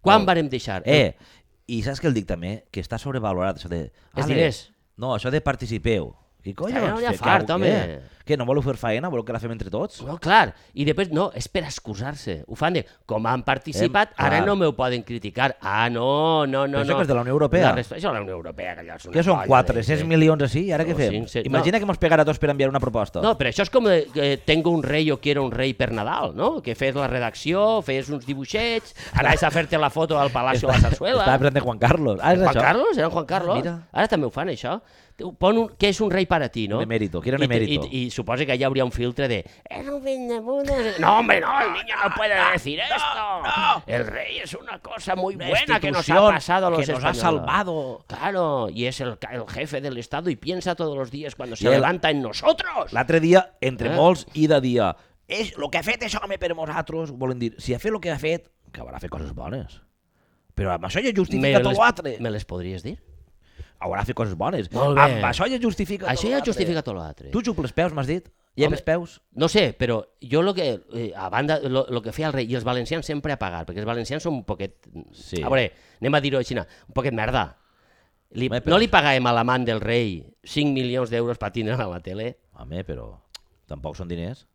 A: Quan
B: Val.
A: vàrem deixar?
B: Eh, i saps què el dic també? Que està sobrevalorat això de...
A: Els
B: "Ale,
A: diners.
B: No, això de participeu. I collons,
A: Ja no hi ha
B: que
A: fart,
B: cau,
A: home.
B: eh? Què, no voleu fer faena? Voleu que la fem entre tots?
A: No, clar. I després, no, és per excusar-se. Ho fan de, com han participat,
B: Em-
A: eh, ara
B: clar.
A: no m'ho poden criticar. Ah, no, no, no.
B: Però això
A: no.
B: que és de la Unió Europea.
A: La resta- això de la Unió Europea, que allò és una
B: Què són,
A: colla de-
B: 400 milions així? I ara què
A: No,
B: fem?
A: eh. cinc, set-
B: Imagina que mos pegarà a tots per enviar una proposta.
A: No, però això és com eh, que tengo un rei o quiero un rei per Nadal, no? Que fes la redacció, fes uns dibuixets, anaves a fer-te la foto al Palacio de la Sarsuela.
B: Estava pensant de Juan Carlos. Ah, és
A: eh. Juan
B: això?
A: Carlos, era en Juan Carlos.
B: mira.
A: Ara també ho fan, això. Pon un, que és un rei per a ti, no?
B: Un emérito, que era un
A: I te-
B: emérito.
A: I, i, suposa que hi hauria un filtre de... "Era un vendemudo de-". No, hombre, no, el niño no puede decir esto. El rey es una cosa muy buena que nos ha
B: institución
A: pasado a los
B: que nos ha
A: españoles".
B: salvado.
A: Claro, y es el, ca- el jefe del Estado y piensa todos los días cuando se
B: Y el-
A: levanta en nosotros.
B: L'altre dia, entre
A: Eh?
B: molts, i de dia, és el que ha fet això home per nosaltres, volen dir, si ha fet el que ha fet, que haurà fet coses bones. Però amb això ja justifica tot l'altre.
A: me les podries dir?
B: Haurà fet coses bones.
A: Molt bé.
B: Amb això ja justifica
A: Això
B: tot
A: ja
B: l'altre.
A: justifica tot l'altre.
B: Tu xuples peus, m'has dit? Lleves
A: Home.
B: peus?
A: No sé, però jo lo que, eh, a banda, lo, lo que feia el rei, i els valencians sempre a pagar, perquè els valencians són un poquet...
B: Sí.
A: A veure, anem a dir-ho així, un poquet merda. Li,
B: Home, però-
A: no li pagàvem a l'amant del rei 5 milions d'euros per tindre a la tele?
B: Home, però tampoc són diners.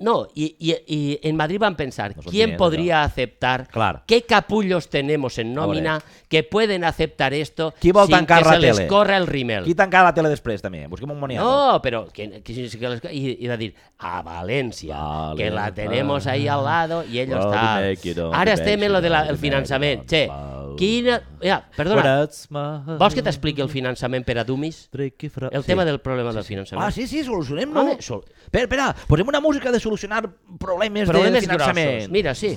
A: No, i, i, i en Madrid van pensar,
B: No són
A: ¿quién
B: diners,
A: podría aceptar?
B: Clar.
A: ¿Qué capullos tenemos en nómina que pueden aceptar esto
B: Qui vol
A: sin
B: tancar
A: que
B: la
A: se les
B: tele?
A: corra el rímel?
B: Qui tancarà la tele després, també? Busquem un moniato.
A: No, pero que, que- que les- y, y va a decir a Valencia,
B: Vale,
A: que la
B: vale.
A: tenemos ahí al lado y ellos
B: Vale,
A: tal.
B: me quiero,
A: Ara
B: me
A: estem en lo del de la-
B: quiero,
A: el
B: me
A: finançament.
B: quiero,
A: Che,
B: vale.
A: quina... Ja, perdona,
B: Perdona,
A: vols que t'expliqui el finançament per a Dumis? El tema del problema del finançament.
B: Ah, sí, sí, solucionem-lo.
A: Home, sol-
B: Espera, espera, posem una música de solucionar problemes, de
A: Problemes
B: finançament.
A: grossos. Mira, sí.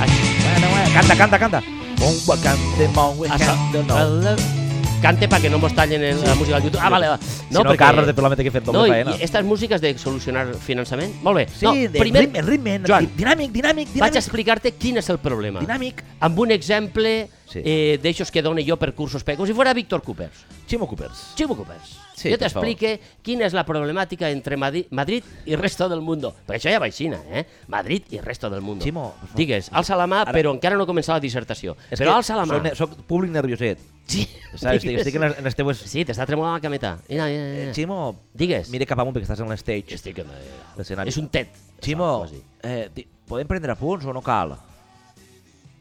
A: Així.
B: Bueno, bueno, canta, canta, canta. Un guacante, mon
A: Ah,
B: guacante, no.
A: Això. Cante para que no mos tallen el- la música al YouTube. Ah, vale, va.
B: No, si no, Carlos, de probablement que he fet doble
A: no, i,
B: faena.
A: i estas músiques de solucionar finançament, molt bé.
B: Sí,
A: no,
B: de
A: primer,
B: ritme, ritme,
A: Joan,
B: dinàmic, dinàmic,
A: vaig a
B: dinàmic,
A: explicar-te quin és el problema.
B: dinàmic.
A: Amb un exemple
B: Sí.
A: eh, d'aixos que dono jo per cursos PEC, com si fos Víctor Coopers.
B: Ximo Coopers.
A: Ximo Coopers.
B: Sí,
A: jo
B: per favor.
A: t'explique quina és la problemàtica entre Madrid, Madrid i resto del mundo. Perquè això ja va aixina, eh? Madrid i resto del mundo.
B: Ximo, per favor.
A: Digues, alça la mà, però encara no ha començat la dissertació.
B: És
A: però
B: que
A: alça la mà.
B: soc ne- Soc públic nervioset.
A: Sí,
B: Saps? Estic,
A: digues.
B: estic en, les, en les teues...
A: Sí, t'està tremolant la cameta. Mira, mira, mira.
B: Ximo,
A: Digues.
B: mira cap amunt perquè estàs en l'estage.
A: Estic en...
B: L'escenari.
A: És un tet.
B: Ximo,
A: Quasi.
B: eh, ti- podem prendre punts o no cal?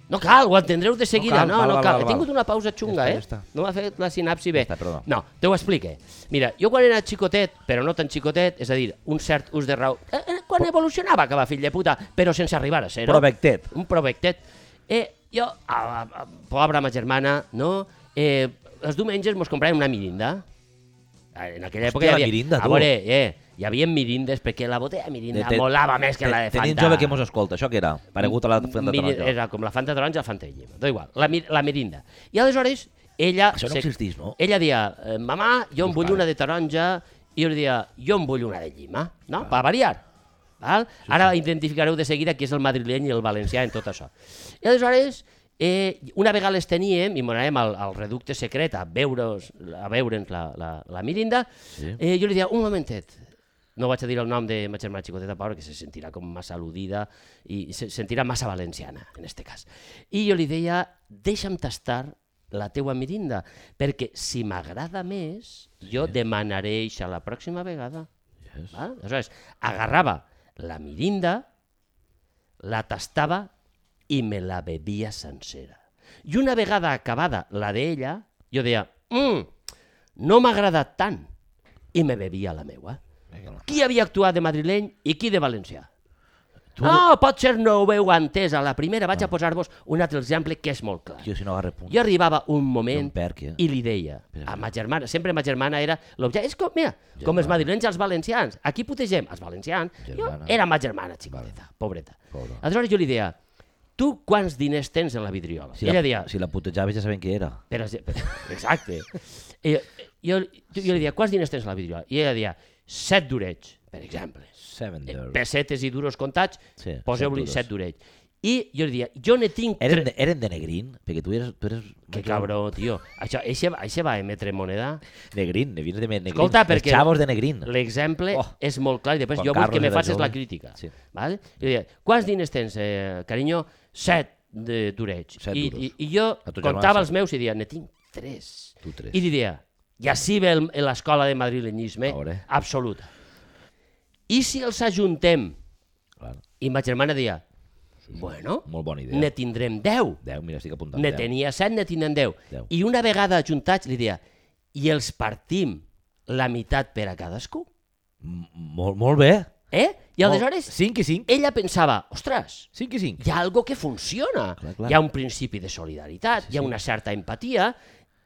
A: No cal, ho entendreu de seguida.
B: cal,
A: No,
B: val,
A: no,
B: val,
A: cal.
B: val,
A: He tingut
B: val.
A: una pausa xunga,
B: Ja està,
A: eh?
B: ja està.
A: No m'ha fet la sinapsi bé.
B: Ja està, perdó.
A: No, te ho explique. Mira, jo quan era xicotet, però no tan xicotet, és a dir, un cert ús de raó... Eh, eh, quan evolucionava, que va fill de puta, però sense arribar a ser-ho.
B: Provectet.
A: Un provectet. Eh, jo, a, a, a, pobra ma germana, no? Eh, els diumenges mos compràvem una mirinda. Ah, En aquella època
B: Hòstia,
A: hi
B: la
A: havia...
B: mirinda,
A: a
B: tu. Eh,
A: veure, eh, hi havia mirindes perquè la botella de mirinda
B: Te- te-
A: molava més que la de
B: te-
A: Fanta.
B: Tenim jove que mos escolta, això què era? Paregut a la Fanta
A: Miri-
B: Taronja.
A: Era com la Fanta Taronja, la Fanta de Llima. Tot igual, la, mir- la mirinda. I aleshores, ella...
B: Això no existeix, no?
A: Ella dia, eh, mamà, jo en vull
B: pare.
A: una de taronja, i jo li dia, jo en vull una de llima, no? Per variar. Val? Ara identificareu de seguida qui és el madrileny i el valencià en tot això. I aleshores, eh, una vegada les teníem i m'anàvem al, al reducte secret a veure's, a veure'ns la, la, la mirinda,
B: Sí.
A: eh, jo li dia, un momentet, no vaig a dir el nom de ma germana xicoteta Paula, que se sentirà com massa al·ludida i se sentirà massa valenciana, en este cas. I jo li deia, deixa'm tastar la teua mirinda, perquè si m'agrada més, jo demanaré això la pròxima vegada. Yes. Aleshores, agarrava la mirinda, la tastava i me la bevia sencera. I una vegada acabada la d'ella, jo deia, mm, no m'ha agradat tant, i me bevia la meua. Qui havia actuat de madrileny i qui de valencià?
B: Tu, Ah.
A: Ah, potser no ho heu entès. A la primera vaig a posar-vos un altre exemple que és molt clar.
B: Tio, si no agarra punt.
A: Jo arribava un moment
B: Em perc, eh?
A: i li deia a ma germana, sempre ma germana era l'objecte. És com, mira, com els
B: Germana.
A: madrilenys i els valencians. Aquí putegem els valencians. Jo
B: Germana.
A: era ma germana, xicoteta, pobreta.
B: Pobra.
A: Aleshores jo li deia, tu quants diners tens en la vidriola?
B: Si
A: Ella
B: la,
A: deia,
B: si la putejaves ja sabem qui era.
A: però, si- però- exacte. I jo, jo, jo li deia, quants diners tens a la vidriola? I ella deia, set d'orets, per exemple.
B: Seven
A: Eh,
B: Dwarfs.
A: Pessetes i duros comptats,
B: Sí,
A: poseu-li
B: set
A: set d'orets. I jo li deia, jo ne tinc... tre-
B: Eren, de, eren de negrín? Perquè tu eres... Tu eres
A: Que cabró, tio. Això, eixe, eixe va emetre moneda.
B: Negrín, ne vines de negrín.
A: Escolta,
B: Els
A: perquè-
B: xavos de negrín.
A: L'exemple
B: Oh.
A: és molt clar i després
B: Quan
A: jo vull
B: Carlos
A: que me
B: era
A: facis
B: jove.
A: la crítica.
B: Sí.
A: Val? Jo diria, quants diners tens, eh, carinyo? Set de d'oreig.
B: Set
A: I,
B: duros.
A: i, I jo
B: A tu germana
A: comptava
B: set.
A: els meus i dia, ne tinc tres.
B: Tu tres.
A: I diria, i així ve el- eh, l'escola de madrilenyisme
B: A veure.
A: absoluta. I si els ajuntem?
B: Clar,
A: I ma germana dia, bueno,
B: molt bona idea.
A: ne tindrem deu.
B: Deu, mira, estic apuntant.
A: Ne
B: Doncs deu.
A: tenia set, ne tindrem deu.
B: Deu.
A: I una vegada ajuntats li dia, i els partim la meitat per a cadascú?
B: M- Molt, molt bé.
A: Eh? I
B: Molt-
A: aleshores
B: Cinc i cinc.
A: ella pensava, ostres,
B: 5 i 5.
A: hi ha algo que funciona.
B: Clar, clar.
A: Hi ha un principi de solidaritat, hi ha una certa empatia,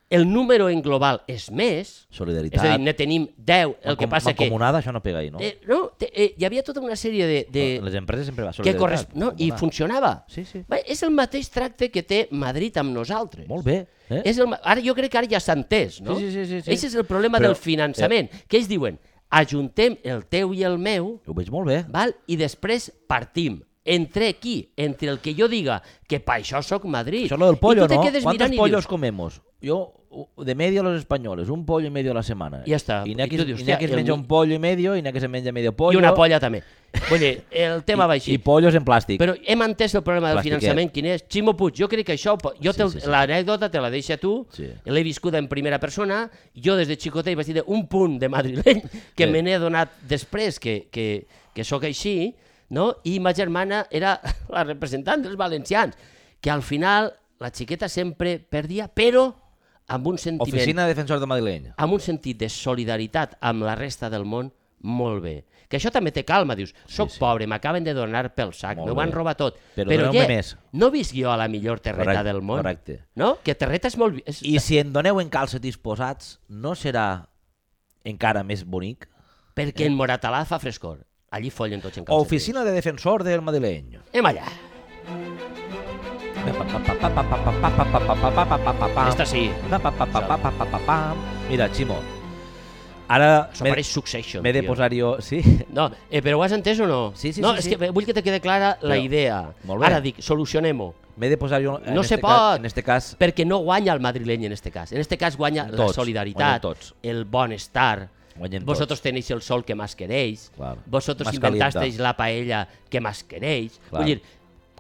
A: el número en global és més, és
B: Solidaritat.
A: a dir, ne tenim 10, el que
B: Mancom-
A: passa que...
B: Mancomunada, això no pega ahir, no?
A: Eh, no, te, eh, hi havia tota una sèrie de... de
B: No, Les empreses sempre va
A: que
B: solidaritat.
A: corresp... no? I
B: mancomunada.
A: funcionava.
B: Sí, sí.
A: Bé, és el mateix tracte que té Madrid amb nosaltres.
B: Molt bé. Eh?
A: És el, ma- ara jo crec que ara ja s'ha entès, no?
B: Sí, sí, sí, sí, sí.
A: Eix és el problema
B: Però- eh.
A: del finançament, que ells diuen, ajuntem el teu i el meu,
B: Ho veig molt bé.
A: val? i després partim. Entre qui? Entre el que jo diga que pa això sóc Madrid.
B: Això és lo del
A: I
B: pollo,
A: tu te
B: no?
A: quedes
B: ¿Cuántos
A: mirant
B: pollos
A: i dius,
B: comemos? Yo, u- de medio los españoles, un pollo y medio a la semana.
A: Ya está.
B: I n'hi ha
A: I
B: que,
A: tu dius,
B: i n'hi ha
A: hòstia,
B: que es
A: el-
B: menja un pollo i medio, i n'hi ha que se menja medio pollo.
A: i una polla també. Vull dir, el tema va així.
B: I, i pollos en plàstic.
A: Però hem entès el problema del
B: Plastiquet.
A: finançament, quin és? Ximo Puig, jo crec que això... ho po- Jo
B: Sí,
A: sí,
B: sí,
A: sí,
B: sí.
A: l'anècdota te la deixa tu,
B: Sí.
A: l'he viscuda en primera persona, jo des de xicotet vaig dir un punt de madrileny que
B: Bé.
A: me n'he adonat després que, que, que sóc així, no? i ma germana era la representant dels valencians, que al final la xiqueta sempre perdia, però amb un sentiment
B: Oficina de Defensors de Madrileny.
A: amb un sentit de solidaritat amb la resta del món molt bé. Que això també té calma, dius, soc sí, sí. pobre, m'acaben de donar pel sac,
B: Molt
A: m'ho
B: bé.
A: van robar tot.
B: Però
A: però ja,
B: doneu-me més.
A: no visc jo a la millor terreta
B: Correcte,
A: del món.
B: correcte.
A: No? Que terreta és molt... vi- És... I...
B: I si en doneu en calcetís posats, no serà encara més bonic?
A: Perquè en Moratalà fa frescor. Allí follen tots en calcetins.
B: eh? Oficina de Defensor del Madrileny.
A: Anem allà. Esta sí.
B: Mira, Ximo, ara
A: Això
B: m'he-
A: pareix Succession,
B: m'he de
A: tio.
B: posar jo... Sí?
A: No, eh, però ho has entès o no?
B: Sí, sí,
A: no,
B: sí,
A: és
B: sí.
A: que vull que te quede clara la
B: Però-
A: idea.
B: Molt bé.
A: Ara dic, solucionem-ho.
B: M'he de posar jo... En
A: No
B: este
A: se
B: cas-
A: pot.
B: En este cas,
A: Perquè no guanya el madrileny en este cas. En este cas guanya la
B: Tots, guanyen
A: solidaritat,
B: tots.
A: el bon estar.
B: Guanyen
A: Vosotros
B: tots.
A: tenéis el sol que más queréis.
B: Clar.
A: Vosotros
B: Más
A: inventasteis
B: calienta.
A: la paella que más queréis.
B: Clar.
A: Vull dir,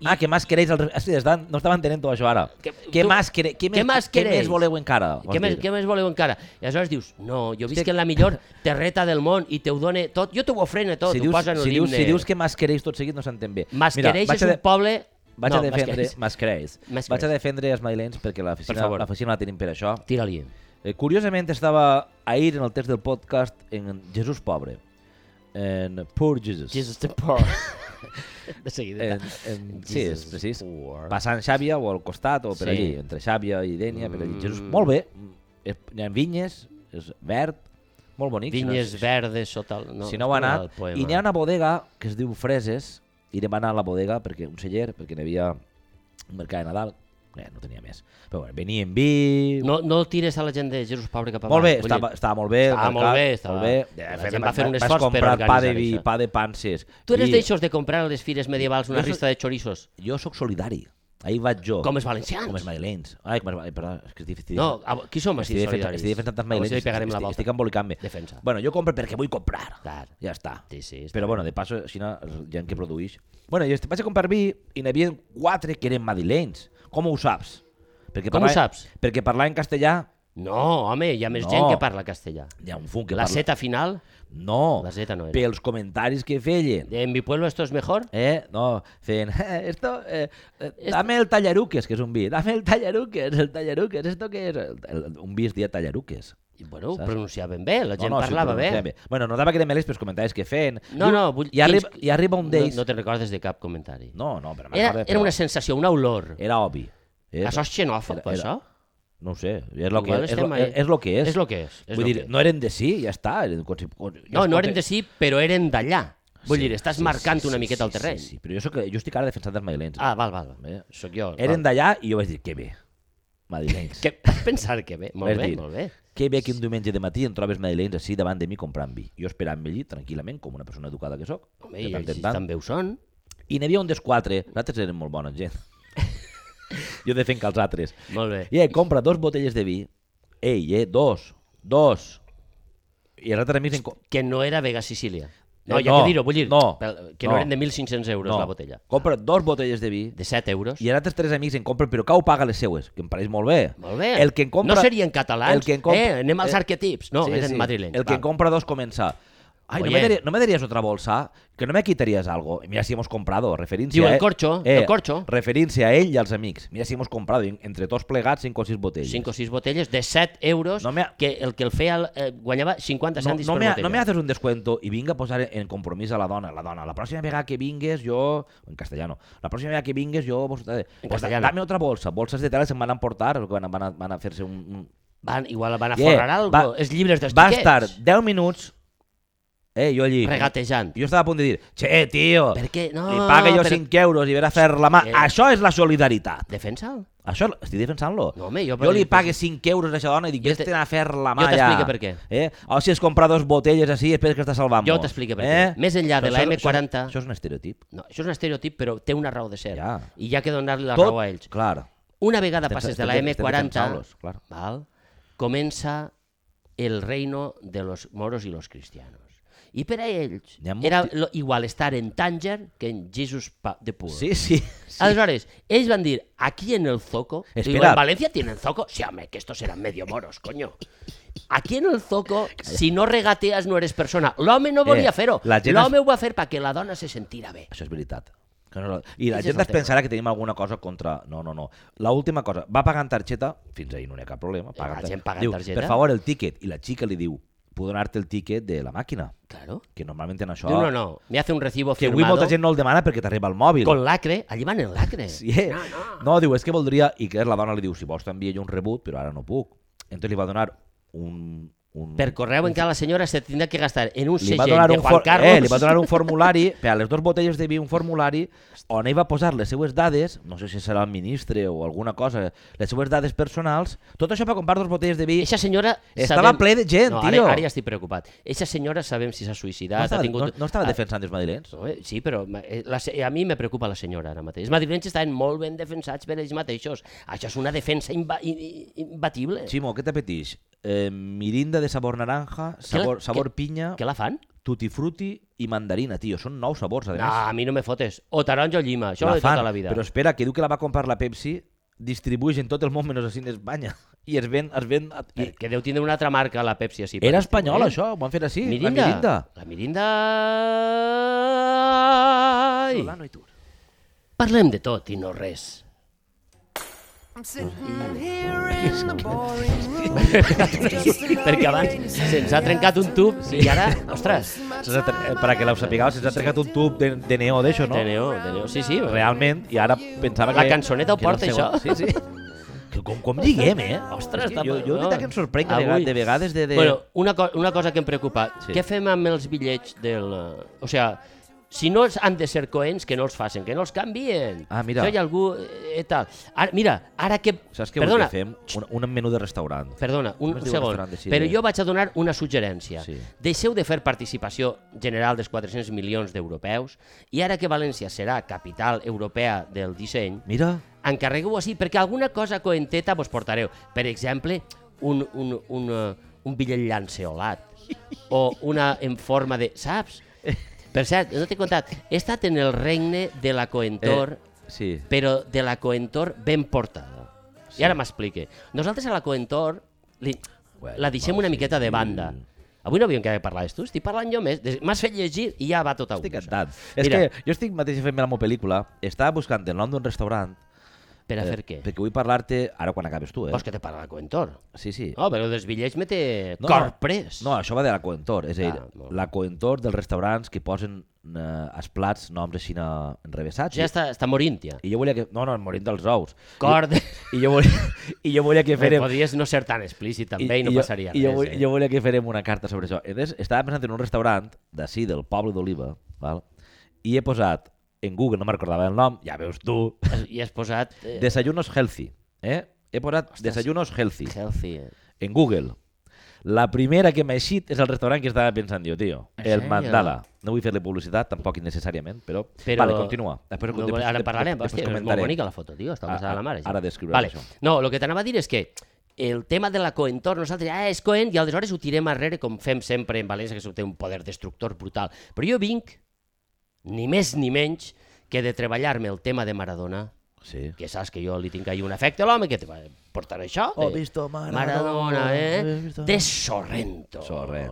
B: Ah, què més queréis? El... Ah, sí, està... no estava entenent tot això ara.
A: Que-
B: Què
A: tu-
B: més quere... què,
A: què
B: més...
A: més
B: què
A: queréis?
B: més voleu encara? vols
A: què més,
B: dir?
A: què més voleu encara? I aleshores dius, no, jo visc en la millor terreta del món i te ho done tot, jo te ho ofrene tot,
B: si
A: ho
B: dius,
A: posa en
B: si dius,
A: l'himne.
B: si dius que més queréis tot seguit no s'entén bé.
A: Masquereix
B: vaig
A: és
B: a
A: un poble...
B: Vaig
A: no,
B: a defendre
A: Masquereix.
B: Masquereix.
A: Masquereix.
B: Vaig a defendre els madrilenys perquè l'oficina
A: favor.
B: l'oficina la tenim per això.
A: Tira-li.
B: Eh, curiosament estava ahir en el text del podcast en Jesús Pobre. En Poor Jesus.
A: Jesus the poor. De seguida.
B: En, en, sí, és
A: Jesus
B: precís.
A: poor.
B: Passant Xàbia o al costat o
A: Sí.
B: per allí, entre Xàbia i Dènia, per allí. Jesús,
A: Mm.
B: molt bé. És- Hi ha vinyes, és verd, molt bonic. si no-
A: Vinyes
B: si-
A: verdes sota el... No,
B: si no heu anat,
A: el poema.
B: i n'hi ha una bodega que es diu Freses, i vam anar a la bodega, perquè un celler, perquè n'hi havia un mercat de Nadal, eh, no tenia més. Però bueno, venia en vi...
A: No, no el tires a la gent de Jesús Pobre cap avall.
B: molt bé,
A: vull
B: estava,
A: dir,
B: estava molt bé. el
A: Estava molt
B: mercat,
A: bé, estava- la
B: De fet,
A: gent va fer un
B: vaig
A: esforç per
B: comprar pa de
A: organitzar
B: vi,
A: això.
B: pa de panses.
A: Tu eres
B: i
A: d'aixòs de comprar a les fires medievals una
B: Jo soc-
A: rista de chorizos,
B: Jo sóc solidari. Ahir vaig jo.
A: com els valencians.
B: Com els madrilenys. Ai, com els, ai, perdó, és que estic... estic
A: No, a, qui som així
B: estic,
A: de
B: defensant,
A: solidaris?
B: estic defensant els
A: A veure
B: madrilenys.
A: si li pegarem la
B: estic-
A: volta.
B: Estic embolicant-me.
A: Defensa.
B: Bueno, jo compro perquè vull comprar.
A: Clar.
B: Ja està.
A: Sí, sí. està
B: Però bueno, de passo, així na- hi ha gent que produeix. Bueno, jo est- vaig a comprar vi i n'hi havia quatre que eren madrilenys. Com ho saps? Perquè
A: Com ho saps?
B: Perquè parlar en castellà
A: bé. No, home, hi ha més
B: No.
A: gent que parla castellà.
B: hi ha un fum que
A: La
B: parla...
A: seta final,
B: No,
A: La zeta no era.
B: pels comentaris que feien.
A: en mi pueblo esto es mejor.
B: Eh, no, feien, "Eh, esto, eh, eh, dame el tallaruques, que és un vi, dame el tallaruques, el tallaruques, esto que és? El, el, un vi es dia tallaruques.
A: I, bueno,
B: Saps?
A: Saps? pronunciar ben bé, la gent no, no, parlava
B: però
A: sí,
B: pronunciem
A: bé.
B: Bueno, notava que eren més els comentaris que feien.
A: No,
B: I-
A: no, vull...
B: I arriba,
A: quins-
B: i arriba un d'ells...
A: No, no te'n recordes de cap comentari.
B: No, no, però
A: era,
B: m'acordo,
A: era
B: però
A: una sensació, una olor. Era,
B: Era obvi. Era,
A: això és xenòfob,
B: era-
A: era,
B: era-
A: això?
B: No ho sé, és lo que,
A: Igual
B: és,
A: estem
B: lo,
A: ahí.
B: és lo que és.
A: És lo que és, és
B: Vull
A: lo
B: dir,
A: que és.
B: no eren de sí, ja està. Eren, com si- com- ja
A: No,
B: es
A: no
B: pot-
A: eren de sí, però eren d'allà. Vull
B: Sí,
A: dir, estàs
B: sí,
A: marcant
B: sí,
A: una
B: sí,
A: miqueta el
B: sí,
A: terreny.
B: Sí, sí, però jo, soc, jo estic ara defensant els madrilenys.
A: Ah, val, val.
B: Bé.
A: val. Soc jo.
B: Eren
A: val.
B: d'allà i jo vaig dir, que bé, madrilenys.
A: Que, vas pensar que bé, molt
B: Vas
A: bé,
B: dir,
A: molt bé.
B: Que bé que un diumenge de matí em trobes madrilenys així davant de mi comprant vi. Jo esperant allí tranquil·lament, com una persona educada que sóc.
A: Home, i ells també ho són.
B: I n'hi havia un dels quatre. Nosaltres érem molt bona gent. jo defenc els altres.
A: Molt bé.
B: I ell compra dos botelles de vi. Ei, eh, dos. Dos. I els altres amics... en co-
A: Que no era Vega Sicília. No,
B: Eh,
A: ja
B: no,
A: que dir-ho, vull dir,
B: no,
A: pel- que
B: no.
A: no, eren de 1.500 euros la botella.
B: Compra dos botelles de vi.
A: De 7 euros.
B: I els altres tres amics en compren, però cau paga les seues, que em pareix molt bé.
A: Molt bé.
B: El que en compra...
A: No serien catalans.
B: el que en compra-
A: Eh, anem als
B: eh,
A: arquetips. No, eren madrilenys.
B: El que en
A: val.
B: compra dos comença... Ay, no
A: Oye.
B: me, daría- no me darías otra bolsa, que no me quitarías algo. Mira si hemos comprado, referencia.
A: Diu,
B: eh?
A: el corcho, el corcho.
B: Referencia a ell i als amics. Mira si hemos comprado, en- entre tots plegats, 5 o 6 botelles.
A: 5 o 6 botelles de 7 euros
B: No me ha-
A: que el que el feia el- eh, guanyava 50
B: no,
A: cèntims
B: no,
A: per
B: me, ha-
A: botella.
B: no me haces un descuento y vinga a posar en compromís a la dona. La dona, la pròxima vegada que vingues jo... En castellano. La pròxima vegada que vingues jo... Vos, en
A: castellano.
B: Dame otra bolsa. Bolsas de tela se'n van emportar, van, a- van, a- van a fer-se un... un...
A: Van, igual van a
B: Yeah,
A: forrar algo.
B: va-
A: Els llibres dels
B: Va
A: xiquets.
B: estar 10 minuts... Eh, jo allí...
A: Regatejant.
B: Jo estava a punt de dir, che, tio,
A: Per què? No,
B: li paga jo
A: Ah, però-
B: 5 euros i ve a fer la mà.
A: Eh.
B: Això és la solidaritat.
A: Defensa'l.
B: Això, estic defensant-lo.
A: No, home, jo-
B: jo li pague 5 euros a aquesta dona i dic,
A: Jo te-
B: vés-te'n a fer la
A: jo
B: mà
A: t'explique
B: ja.
A: per què.
B: Eh? O si has comprat dos botelles així, espera que està salvant
A: Jo t'explique per què. Més enllà de la M40.
B: Eh? Això, això és un estereotip.
A: No, això és un estereotip, però té una raó de ser.
B: Ja.
A: I hi ha que donar-li la raó a ells.
B: Clar.
A: Una vegada
B: Estem-
A: passes de
B: estem-
A: la
B: estem
A: M40,
B: defensant-los, clar.
A: val, comença el reino de los moros y los cristianos. I per a ells
B: N'hi ha molti-
A: era lo, igual estar en Tanger que en Jesus pa, de Pur.
B: Sí, sí.
A: Sí. Aleshores, ells van dir, aquí en el Zoco,
B: Espera.
A: digo, en Valencia tienen Zoco, sí, hombre, que estos eran medio moros, coño. Aquí en el Zoco, si no regateas no eres persona. L'home no volia
B: Eh,
A: fer-ho,
B: la gent
A: l'home ho va fer perquè la dona se sentira bé.
B: Això és veritat. Que no, I la
A: Aquest és
B: gent
A: el
B: es pensarà que tenim alguna cosa contra... No, no, no. La última cosa, va pagant targeta, fins ahir no n'hi ha cap problema.
A: la
B: tar-
A: gent paga
B: diu,
A: targeta.
B: Per favor, el tíquet. I la xica li diu, puc donar-te el tíquet de la màquina.
A: Claro.
B: Que normalment en això...
A: Diu, no, no, me hace un recibo
B: Ah. Que avui
A: firmado
B: molta gent no el demana perquè t'arriba al mòbil.
A: con lacre, allí van en lacre.
B: Sí, eh? no, no. diu, és que voldria... I que la dona li diu, si vols t'envia jo un rebut, però ara no puc. Entonces li va donar un... un
A: Per correu encara la senyora se tindrà que gastar en un
B: li va
A: segell
B: donar
A: de
B: un,
A: Juan
B: for...
A: Carlos.
B: eh, li va donar un formulari, per a les dues botelles de vi, un formulari on ell va posar les seues dades, no sé si serà el ministre o alguna cosa, les seues dades personals, tot això per comprar dues botelles de vi.
A: Eixa senyora...
B: Estava ple de gent,
A: no, ara,
B: tio.
A: Ara ja estic preocupat. Eixa senyora sabem si s'ha
B: no,
A: suïcidat,
B: estava,
A: ha tingut...
B: no, no estava
A: ha-
B: defensant els madrilenys.
A: No, Ah. eh, Sí, però ma- eh, la, se- a mi me preocupa la senyora ara mateix. Els madrilenys estaven molt ben defensats per ells mateixos. Això és una defensa imba, i- i- imbatible.
B: Ximo, què t'apeteix? Eh, mirinda de sabor naranja, sabor,
A: la-
B: sabor pinya,
A: Què la fan?
B: tutti frutti i mandarina, tio. Són nous sabors, a més.
A: No, a mi no me fotes. O taronja o llima, això
B: La
A: ho de tota
B: fan,
A: la vida.
B: Però espera, que diu que la va comprar la Pepsi, distribueix en tot el món menys així en Espanya. I es ven... Es ven a- i...
A: Eh, Que deu tindre una altra marca la Pepsi així. per
B: Era
A: distribuir.
B: espanyol, això, ho van fer així,
A: Mirinda.
B: la Mirinda.
A: La Mirinda. Ai.
C: Solano i Tur.
A: Parlem de tot i no res.
D: I'm sitting here in the boring room.
A: Perquè abans se'ns ha trencat un tub i ara, ostres,
B: Se'ns ha tre- eh, Per a que l'heu sapigueu, se'ns ha trencat un tub de, de neó d'això, no?
A: de neo, de neo. Sí, sí,
B: Realment, i ara pensava
A: La
B: que...
A: cançoneta ho
B: que era el
A: porta, això?
B: segon. Sí, sí. Que com, com lliguem, eh?
A: Ostres,
B: És que
A: està
B: jo, jo de veritat que em sorprèn que de,
A: Avui-
B: vegades, de vegades de... de...
A: Bueno, una, co una cosa que em preocupa,
B: Sí.
A: sí. què fem amb els bitllets del... eh, O sea, si no els han de ser coents, que no els facin, que no els canvien.
B: Ah, mira.
A: Això hi ha algú... Eh, tal. Ara, mira, ara que...
B: Saps què
A: perdona,
B: vols que fem? Un, un menú de restaurant.
A: Perdona, un, un
B: Com es diu el
A: segon.
B: restaurant de Xile?
A: Però jo vaig a donar una suggerència.
B: Sí.
A: Deixeu de fer participació general dels 400 milions d'europeus i ara que València serà capital europea del disseny,
B: Mira,
A: encarregueu així, perquè alguna cosa coenteta vos portareu. Per exemple, un, un, un, eh, un bitllet llanceolat o una en forma de... Saps? Per cert, no t'he contat, he estat en el regne de la coentor, eh,
B: sí.
A: però de la coentor ben portada. Sí. I ara m'explique. Nosaltres a la coentor li,
B: Bueno,
A: bueno, la deixem
B: va,
A: una
B: sí.
A: miqueta de banda. Avui no havíem de parlar d'això, estic parlant jo més. Des- M'has fet llegir i ja va tot a un.
B: Estic encantat. És
A: Mira.
B: que jo estic mateix fent-me la meva pel·lícula, estava buscant el nom d'un restaurant eh,
A: Per a fer què?
B: Perquè vull parlar-te, ara quan acabes tu, eh?
A: Vols que te parla de Coentor?
B: Sí, sí.
A: No, però dels bitllets me té no, corpres.
B: No, això va de la coentor, és a dir,
A: Ah, molt bé.
B: la coentor dels restaurants que posen eh, als plats noms així eh, enrevessats.
A: ja està, està morint, ja.
B: I jo volia que... No, no, morint dels ous.
A: Cor de-
B: I, i jo, volia, I jo volia que
A: Bé,
B: fèrem...
A: Podies no ser tan explícit també i, no
B: jo-
A: passaria
B: i jo,
A: res.
B: vull-
A: eh?
B: Jo volia que fèrem una carta sobre això. Llavors, estava pensant en un restaurant d'ací, del poble d'Oliva, val? i he posat en Google, no me'n recordava el nom, ja veus tu,
A: I has posat eh,
B: desayunos healthy. Eh? He posat desayunos healthy
A: healthy. eh?
B: en Google. La primera que m'ha eixit és el restaurant que estava pensant jo, tio.
A: En
B: El
A: sèrio?
B: Mandala. No vull fer-li publicitat, tampoc innecessàriament, però...
A: Però-
B: Vale, continua. Després,
A: No,
B: després-
A: ara en
B: després-
A: parlarem,
B: després
A: hòstia, és molt
B: comentaré.
A: bonica la foto, tio, està
B: Ah,
A: passada
B: ah,
A: la mare.
B: ara descriuràs
A: vale.
B: això.
A: No, el que t'anava a dir és que el tema de la coentor, nosaltres, ah, és coent, i aleshores ho tirem arrere com fem sempre en València, que això té un poder destructor brutal. Però jo vinc, ni més ni menys, que de treballar-me el tema de Maradona,
B: Sí.
A: que saps que jo li tinc ahir un efecte a l'home que te va portar això.
B: Ho
A: de-
B: visto Maradona,
A: Oh, Maradona, eh?
B: ho visto.
A: De Sorrento.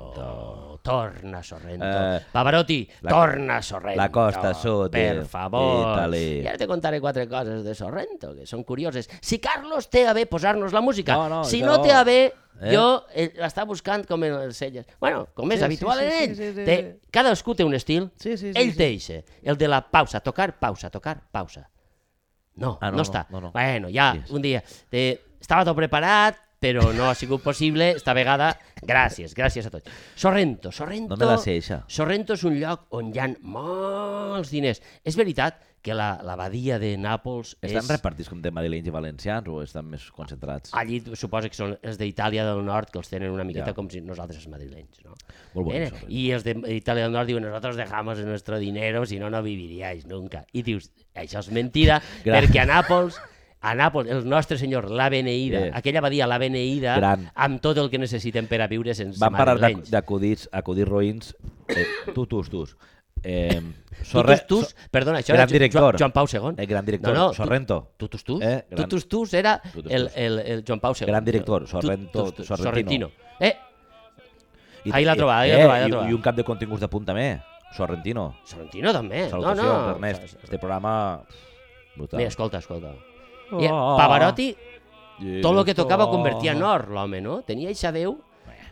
B: Sorrento.
A: Torna Sorrento.
B: Eh,
A: Pavarotti,
B: la-
A: torna Sorrento.
B: la costa sud eh, de-
A: Per favor.
B: d'Itàlia.
A: I ara te contaré quatre coses de Sorrento que són curioses. Si Carlos té a bé posar-nos la música,
B: No, no,
A: si
B: és
A: no
B: bo.
A: té a bé,
B: Eh?
A: jo eh, l'està buscant com en els celles. Bueno, com és
B: Sí, sí,
A: habitual
B: sí,
A: en
B: sí,
A: ell.
B: sí, sí,
A: té,
B: sí.
A: Cadascú té un estil,
B: Sí, sí, sí,
A: ell
B: sí.
A: té ixe, el de la pausa, tocar, pausa, tocar, pausa. No,
B: Ah,
A: no, no
B: no, no,
A: està.
B: no, no.
A: Bueno, ja,
B: Yes.
A: un dia. Eh, estava tot preparat, però no ha sigut possible. Esta vegada, gràcies, gràcies a tots. Sorrento, Sorrento...
B: No me la sé, eixa.
A: Sorrento és un lloc on hi ha molts diners. És veritat que la, la badia de Nàpols
B: Estan
A: és...
B: repartits com de madrilenys i valencians o estan més concentrats?
A: Allí suposa que són els d'Itàlia del Nord, que els tenen una miqueta
B: Ja.
A: com si nosaltres els madrilenys, no?
B: Molt bon,
A: Eh,
B: Sorrento.
A: I els d'Itàlia del Nord diuen, nosaltres dejamos el nostre dinero, si no, no viviríais nunca. I dius, això és mentida,
B: Gran.
A: perquè a Nàpols, a Nàpols, el nostre senyor, la beneïda,
B: Eh.
A: aquella badia, la beneïda,
B: Gran.
A: amb tot el que necessiten per a viure sense
B: Van parar
A: madrilenys.
B: d'acudits, acudits roïns, eh, tutus, tus. Eh,
A: Tutus,
B: Sorre-
A: tus,
B: So-
A: perdona, això
B: gran
A: era Jo-
B: director.
A: Joan, Joan Pau II.
B: El gran director,
A: No, no, tu-
B: Sorrento.
A: Tutus tus?
B: Eh, gran-
A: Tutus tus era
B: Tutus
A: el,
B: tus.
A: el, el Joan Pau II.
B: Gran director, Sorrento-
A: Tutus tus,
B: Sorrentino.
A: Sorrentino. Eh,
B: I-
A: Ahí la
B: i-
A: trobada, ahí la
B: eh,
A: trobada, ahí la
B: i-
A: trobada.
B: I un cap de continguts de punt també, Sorrentino.
A: Sorrentino també.
B: Salutacions,
A: no, no.
B: Ernest. Este programa... Brutal.
A: Mira, escolta, escolta. I
B: Oh.
A: Pavarotti, tot el que tocava ho
B: Oh.
A: convertia en or, l'home, no? Tenia eixa veu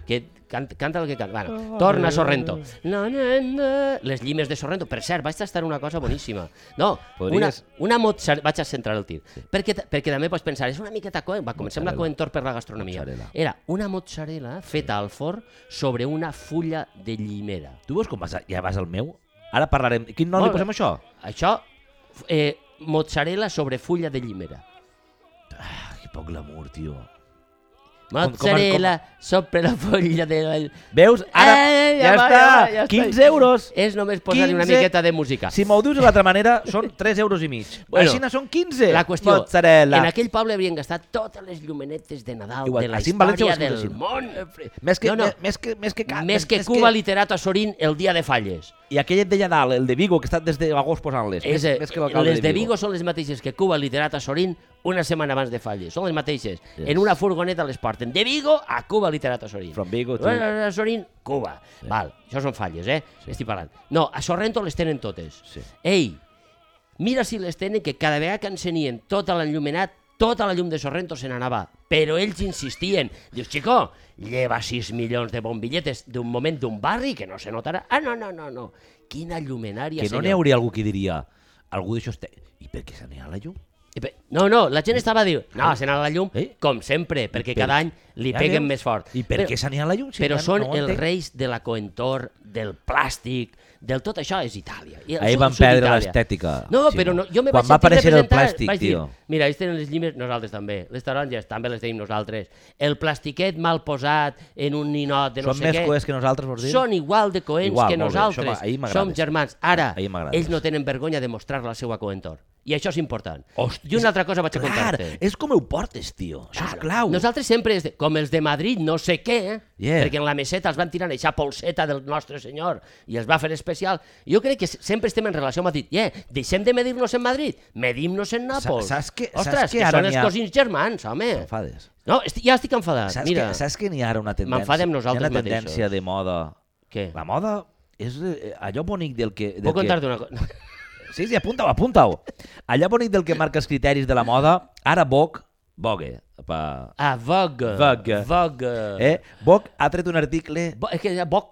A: que can, canta el que canta. Bueno, torna a Sorrento. Na, na, na. Les llimes de Sorrento. Per cert, vaig tastar una cosa boníssima. No, una,
B: Podries-
A: una mozzarella... Vaig a centrar el tir. Perquè, ta- perquè també pots pensar, és una miqueta coent. Va, comencem la
B: Mozzarella.
A: coentor per la gastronomia.
B: Mozzarella.
A: Era una mozzarella feta al forn sobre una fulla de llimera.
B: Tu veus com vas a... ja vas al meu? Ara parlarem... Quin nom
A: Molt
B: li
A: bé.
B: posem a això?
A: Això, f- eh, mozzarella sobre fulla de llimera.
B: Ah, que poc glamour, tio. com-
A: Mozzarella sobre la fulla de... la-
B: Veus? Ara...
A: Eh, ja
B: ja,
A: va,
B: està!
A: ja va, ja està. Eh.
B: 15 euros!
A: És només posar-li una
B: 15.
A: miqueta de música.
B: Si m'ho dius de l'altra manera, són 3 euros i mig.
A: Bueno,
B: Bueno, Així són 15.
A: La qüestió,
B: Mozzarella.
A: en aquell poble havien gastat totes les llumenetes de Nadal
B: Igual,
A: de la
B: així en València ho
A: història del
B: has fet
A: món.
B: Més que,
A: No, no.
B: me- Més que, més que, ca-
A: Més que Cuba li literat a Sorín el dia de falles.
B: I aquell de Lladal, el de Vigo, que està des de agost posant-les. Més,
A: És, eh,
B: més que l'alcalde
A: les de Vigo són les mateixes que Cuba literat a Sorín una setmana abans de falles. Són les mateixes.
B: Yes.
A: En una furgoneta les porten de Vigo a Cuba literat a Sorín.
B: From Vigo to-
A: Bueno, a Sorín, Cuba. Val, això són falles, eh? Estic parlant. No, a Sorrento les tenen totes.
B: Sí.
A: Ei, mira si les tenen que cada vegada que encenien tot l'enllumenat, tota la llum de Sorrento se n'anava. Però ells insistien. Dius, xico, lleva 6 milions de bombilletes d'un moment d'un barri que no se notarà. Ah, no, no, no, no. Quina llumenària,
B: Que no n'hi
A: senyor.
B: hauria algú que diria... Algú d'això té... I per què se n'hi ha la llum?
A: I pe- No, no, la gent estava a dir, no, se n'ha la llum,
B: Eh?
A: com sempre, perquè
B: per-
A: cada any li
B: Ja
A: peguen
B: veus?
A: més fort.
B: I per
A: Però-
B: què se n'hi ha la llum? Si
A: Però
B: ja no-
A: són
B: no ho
A: els
B: entenc.
A: reis de la coentor, del plàstic, del tot això és Itàlia. I el
B: Ahir
A: sud-
B: van
A: sud
B: perdre
A: d'Itàlia.
B: l'estètica,
A: No,
B: Ximo.
A: però no, jo me
B: Quan
A: vaig
B: va
A: sentir
B: aparèixer el
A: representar,
B: plàstic,
A: vaig dir,
B: tio.
A: Mira, ells tenen les llimes, nosaltres també. Les taronges també les tenim nosaltres. El plastiquet mal posat en un ninot de no
B: Són
A: sé
B: més
A: què.
B: coes que nosaltres, vols dir?
A: Són igual de coents
B: Igual,
A: que
B: molt bé. Això
A: nosaltres.
B: m'a- ahir m'agrades.
A: Som germans. Ara,
B: Ahir m'agrades.
A: ells no tenen vergonya de mostrar la seva coentor. I això és important.
B: Hosti,
A: I una altra cosa vaig a
B: Clar,
A: contar-te.
B: és com ho portes, tio. Això
A: Claro.
B: és clau.
A: Nosaltres sempre, és de, com els de Madrid, no sé què,
B: Yeah.
A: perquè en la meseta els van tirar eixa polseta del nostre senyor i els va fer especial. Jo crec que s- sempre estem en relació amb Madrid. Yeah, deixem de medir-nos en Madrid, medim-nos en Nàpols.
B: saps que- saps
A: Ostres,
B: que
A: que,
B: ara
A: són els
B: n'hi ha-
A: cosins germans, home.
B: T'enfades.
A: No, esti ja estic enfadat.
B: Saps,
A: Mira,
B: que, saps que n'hi ha ara una tendència?
A: M'enfadem nosaltres
B: Hi ha una
A: mateixos.
B: tendència de moda.
A: Què?
B: La moda és eh, allò bonic del que... Del
A: Puc contar-te una cosa?
B: Que... Sí, sí, apunta-ho, apunta-ho. Allà bonic del que marca els criteris de la moda, ara Vogue, Vogue, pa,
A: Ah, Vogue.
B: Vogue.
A: Vogue.
B: eh? Vogue ha tret un article...
A: Bo, és que era Vogue.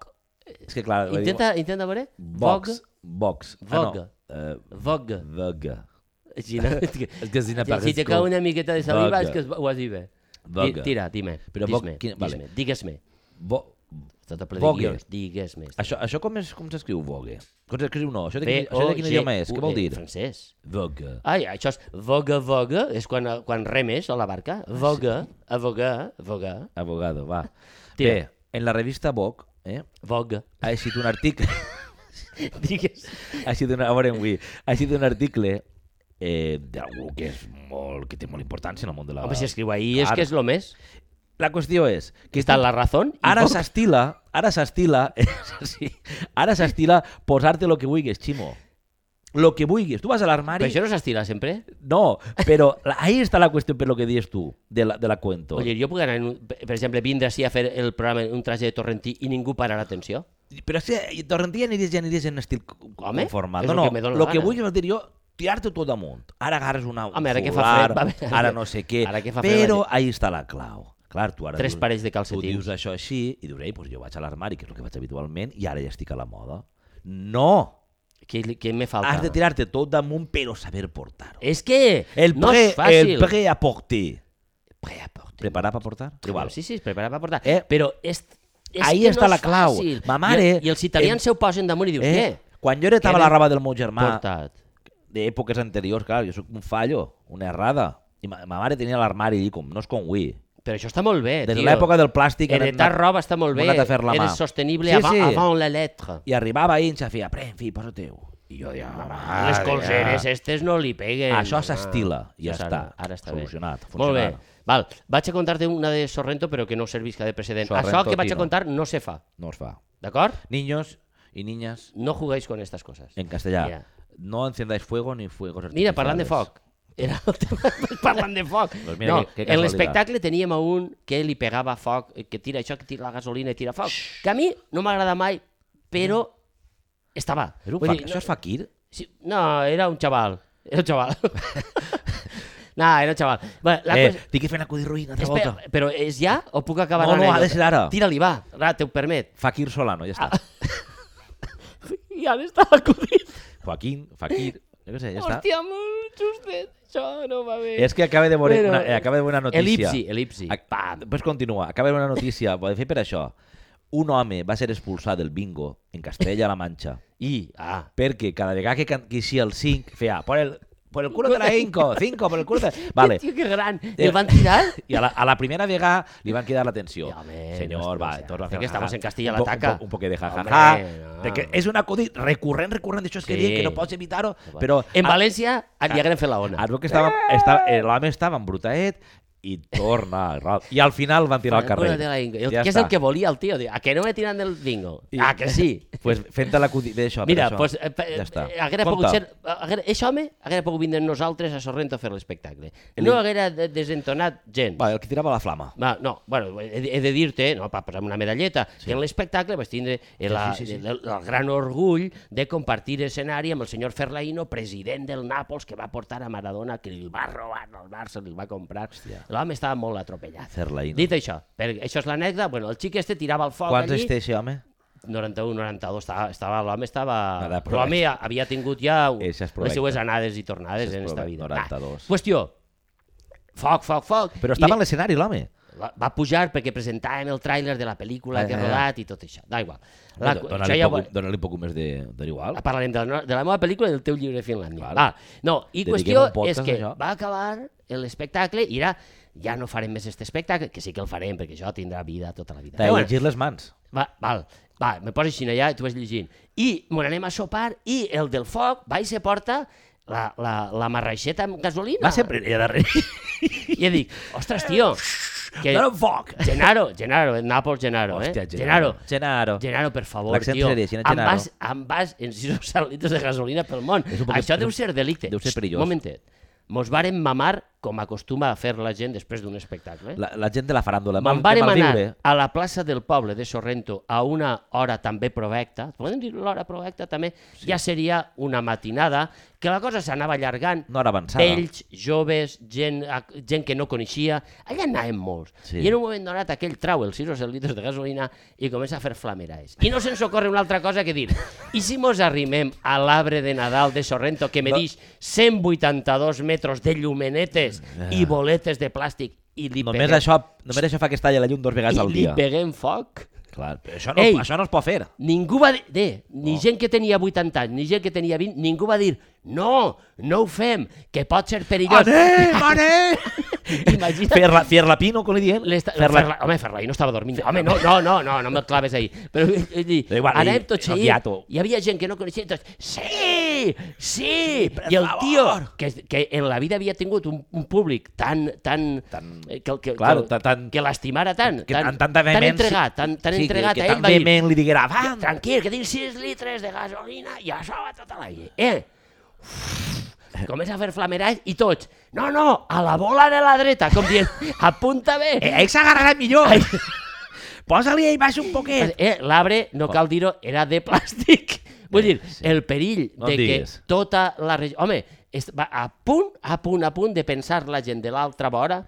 B: És que clar... la diu-
A: Intenta, intenta veure.
B: Vox. Vox.
A: Vogue.
B: Ah, no. eh,
A: Vogue.
B: Vogue.
A: Gina,
B: És que Gina
A: si
B: Parres
A: aixeca
B: com-
A: una miqueta de saliva
B: Vogue.
A: és que es- ho has dit bé. Di-
B: Vogue.
A: Tira, dime.
B: Però
A: dis-me,
B: Vogue, quina-
A: dis-me,
B: vale.
A: digues-me.
B: Vo...
A: Tot a ple de
B: Vogue.
A: guions, digues-me.
B: Això, això com és- com s'escriu Vogue? Com s'escriu no? Això de, quin, això de quin idioma és? Què vol dir?
A: V-O-G-U-E, eh, francès.
B: Vogue.
A: Ai, això és voga, voga, és quan, quan remes a la barca.
B: Ah,
A: Voga, a voga, voga,
B: Abogado, va.
A: Tira.
B: Bé, en la revista Vogue, eh?
A: voga.
B: Ha eixit un article...
A: Digues.
B: ha sigut una, a veure, avui, ha sigut un article eh, d'algú que és molt, que té molt importància en el món de la...
A: Home, si escriu ahir és
B: Ara.
A: que és lo més.
B: La qüestió és... Que
A: Està la razón. i
B: Ara
A: Vogue.
B: s'estila, ara s'estila, sí, ara s'estila posar-te lo que vulguis, Ximo. Lo que vulguis. Tu vas a l'armari...
A: Però això no s'estila sempre?
B: No, però la- ahí está la cuestión, per lo que dices tú, de la, de la cuento.
A: Oye, jo puc anar, en un, per exemple, vindre així a fer el programa en un traje de Torrentí i ningú pararà atenció?
B: Però si Torrentí ja aniris, ja aniris en estil co-
A: Home,
B: conformat.
A: és
B: No,
A: el
B: no,
A: que me dóna
B: lo
A: la
B: que
A: gana.
B: vull és dir jo, tirar-te tot damunt. Ara agarres una, un
A: Home, ara que fa
B: fular,
A: fred, va bé.
B: ara no sé què.
A: Ara que fa fred,
B: però
A: la
B: ahí està la clau. Clar, tu ara
A: Tres
B: dius,
A: parells de
B: Tu
A: calcetins.
B: dius això així i dius, ei, doncs jo vaig a l'armari, que és el que vaig habitualment, i ara ja estic a la moda. No!
A: Què, què me falta?
B: Has de tirar-te tot damunt, però saber portar-ho.
A: És que
B: El
A: Eh, no és
B: pré,
A: fàcil.
B: el pré a porter.
A: Pré a portar.
B: Preparar per portar? Igual.
A: Sí, sí, es prepara per portar.
B: Eh?
A: Però és, és
B: Ahí
A: que
B: està
A: no
B: la
A: és
B: clau.
A: Fàcil.
B: Ma mare-
A: I, I els italians eh, se ho posen damunt i dius, eh,
B: Eh? Quan jo heretava
A: Què
B: la
A: n'hem
B: roba del meu
A: què?
B: germà,
A: Portat.
B: d'èpoques anteriors, clar, jo sóc un fallo, una errada. I ma, ma mare tenia l'armari, i com, no és com avui.
A: Però això està molt bé,
B: Des de
A: Eh, tio.
B: l'època del plàstic... han
A: Heretar
B: anat-
A: roba està molt
B: m'ho
A: bé.
B: han anat a fer la mà.
A: Eres sostenible
B: Sí,
A: avant,
B: sí.
A: avant la letra.
B: I arribava ahir i ens feia, pren, fi, posa teu. I jo deia, "Ma mare,
A: Les colzeres estes no li peguen.
B: Això s'estila, ja
A: Ara-
B: està,
A: Ah, Ara està
B: solucionat,
A: bé. Molt bé.
B: funcional.
A: Val, vaig a contar-te una de Sorrento, però que no servisca de precedent.
B: Sorrento,
A: Això que vaig a
B: Tino.
A: contar no se fa,
B: No es fa.
A: d'acord?
B: Niños y niñas,
A: No juguéis con estas cosas.
B: en castellà,
A: Mira.
B: no encendáis fuego ni fuegos
A: Mira,
B: artificiales.
A: parlant de foc. Era el tema, parlant de foc.
B: Doncs mira,
A: no,
B: que- que
A: en
B: casualitat.
A: l'espectacle teníem a un que li pegava foc, eh, que tira això, que tira la gasolina i tira foc. Que a mi no m'agrada mai, però estava.
B: És un
A: Vull
B: fa...
A: dir,
B: Això és fakir?
A: Sí, no, era un chaval. Era un chaval. no, era un chaval. Bé, la
B: eh,
A: cosa...
B: t'hi que fer una codirruïna, altra
A: Espera,
B: volta.
A: però és ja o puc acabar
B: No, no,
A: l'anècdota?
B: ha de ser ara.
A: Tira-li, va, ara te ho permet.
B: Fakir Solano, ja està.
A: I ara està acudit.
B: Joaquín, Fakir, jo què sé, ja està.
A: Hòstia, molt justet. Això no va bé.
B: És que acaba de veure,
A: Bueno,
B: una, eh, acaba de veure una notícia.
A: Elipsi, elipsi.
B: A- Pam, pues continua. Acaba de veure una notícia. Ho he de fer per això. Un home va ser expulsat del bingo en Castella-La Manxa
A: I, ah,
B: perquè cada vegada que can- que eixia el 5 feia por el, por el culo de la Inco, 5, por el culo de... Vale.
A: Tio, que gran. I
B: Eh,
A: el van tirar?
B: I a la, a la primera vegada li van quedar l'atenció.
A: Ja, home,
B: Senyor,
A: no estamos-
B: va, entonces va a
A: que
B: hacer
A: estamos
B: jaja.
A: en Castilla
B: Un
A: la
B: po- un
A: Taca.
B: po- Un poquito de jajaja.
A: Hombre, no.
B: de que es un acudit recurrent, recurrent, d'això és que
A: Sí.
B: diuen que no pots evitar-ho, però...
A: En
B: a-
A: València li hagueren fet la ona.
B: Es veu que estava, estava, eh, l'home estava embrutaet i torna. ro- I al final van tirar al carrer.
A: Bueno, de la Ingo. I el- Què és el que volia el tio? Diu, A que no me tiran del bingo?
B: I-
A: Ah, que sí.
B: Pues fent-te l'acudit d'això.
A: Mira,
B: per això.
A: pues, eh, pa- eh,
B: ja està.
A: haguera
B: Compte.
A: pogut ser... Haguera, eixe home haguera pogut vindre amb nosaltres a Sorrento a fer l'espectacle. No haguera de- desentonat gens.
B: Va, el que tirava la flama.
A: Va, no, bueno, he de- he de dir-te, no, per posar una medalleta, sí. que en l'espectacle vas tindre el,
B: sí,
A: sí, sí, sí. El, el, gran orgull de compartir escenari amb el senyor Ferlaino, president del Nàpols, que va portar a Maradona, que li va robar al Barça, li va comprar. L'home estava molt atropellat.
B: Ferlaino.
A: Dit això, perquè això és l'anècdota, bueno, el xic este tirava el foc
B: Quants
A: allí...
B: anys té això, home?
A: 91, 92, estava, estava l'home estava...
B: Nada, però
A: L'home ja havia tingut ja un-
B: Eixa és
A: les
B: provecta.
A: seues anades i tornades
B: Eixa és
A: en esta
B: provecta,
A: vida.
B: 92.
A: Va, qüestió, foc, foc, foc.
B: Però
A: I
B: estava a l'escenari, l'home.
A: va, va pujar perquè presentàvem el tràiler de la pel·lícula
B: Ah,
A: que
B: ja,
A: he
B: ja.
A: rodat i tot això. Da igual.
B: Dona-li
A: cu-
B: poc,
A: això ja Eh, ho-
B: dona-li poc més de, de igual.
A: Parlarem de la, no- de la meva pel·lícula i del teu llibre de Finlàndia.
B: Val.
A: Va. No, i
B: Dediquem
A: qüestió
B: un podcast
A: és que
B: a això.
A: va acabar l'espectacle i era ja no farem més aquest espectacle, que sí que el farem, perquè això tindrà vida tota la vida.
B: De
A: Però bueno,
B: llegir les mans.
A: Va, val, va, me poses xina allà i tu vas llegint. I m'on anem a sopar i el del foc va i se porta la, la, la marraixeta amb gasolina.
B: Va sempre allà darrere.
A: I jo dic, ostres, tio, que...
B: Dóna'm foc!
A: Eh? Genaro, Genaro, Nàpols, Genaro, eh?
B: Hòstia,
A: Genaro.
B: Genaro.
A: Genaro, per favor,
B: L'accent
A: tio.
B: seré, si no,
A: em
B: Genaro.
A: vas, em vas en 6 litres de gasolina pel món.
B: És un poc-
A: Això
B: és
A: deu
B: un-
A: ser delicte.
B: deu ser
A: Xt,
B: perillós.
A: Momentet. Mos varen mamar com acostuma a fer la gent després d'un espectacle. eh?
B: La, la gent de la eh? faràndula.
A: Me'n
B: que
A: van anar
B: malviure.
A: a la plaça del poble de Sorrento a una hora també provecta, podem dir l'hora provecta també, sí. ja seria una matinada, que la cosa s'anava allargant,
B: Una hora avançada.
A: vells, joves, gent, a- gent que no coneixia, allà anàvem molts.
B: Sí.
A: Sí. I en un moment donat aquell trau els 6 o 7 litres de gasolina i comença a fer flameraes. I no se'ns ocorre una altra cosa que dir, i si mos arrimem a l'arbre de Nadal de Sorrento que medix 182 metres de llumenetes i boletes de plàstic i li
B: Ah. Només
A: peguem
B: això, només això fa que es talla la llum dos vegades
A: i
B: al
A: li
B: dia.
A: peguem foc.
B: Clar, però això, no,
A: Ei!
B: això no es pot fer.
A: Ningú va dir, de,
B: Oh.
A: ni gent que tenia 80 anys, ni gent que tenia 20, ningú va dir, no, no ho fem, que pot ser perillós.
B: Anem, anem!
A: Imagina't
B: Fer la, fer la pino, com li diem?
A: L'esta...
B: Fer la...
A: Ferla... Home, Ferlai no estava dormint. Home, no, no, no, no, no me'l claves ahí. Però vull dir,
B: Da igual,
A: anem
B: i-
A: tots
B: no,
A: ahí.
B: guiato.
A: Hi havia gent que no coneixia i tots, sí, sí!
B: per
A: I el
B: favor.
A: tio, que, que en la vida havia tingut un, un públic tan... tan,
B: Tan-
A: eh, que, que,
B: clar,
A: que,
B: tan-
A: que l'estimara tant,
B: que
A: tan,
B: amb tanta vehemència-
A: entregat, tan, tan
B: Sí, que-
A: entregat
B: que
A: a ell,
B: tan
A: va dir, "Ah,
B: vehement li diguera, va!
A: tranquil, que tinc 6 litres de gasolina i això va tota l'aire. Eh? Uf, comença a fer flamerall i tots, no, no, a la bola de la dreta, com dient, apunta bé.
B: Eh, ell s'agarrarà millor! Posa-li ahí baix un poquet!
A: Eh, l'arbre, no cal dir-ho, era de plàstic. Vull dir, el perill
B: Eh, No
A: de
B: em
A: que
B: diguis.
A: tota la regió... Home, es va a punt, a punt, a punt de pensar la gent de l'altra vora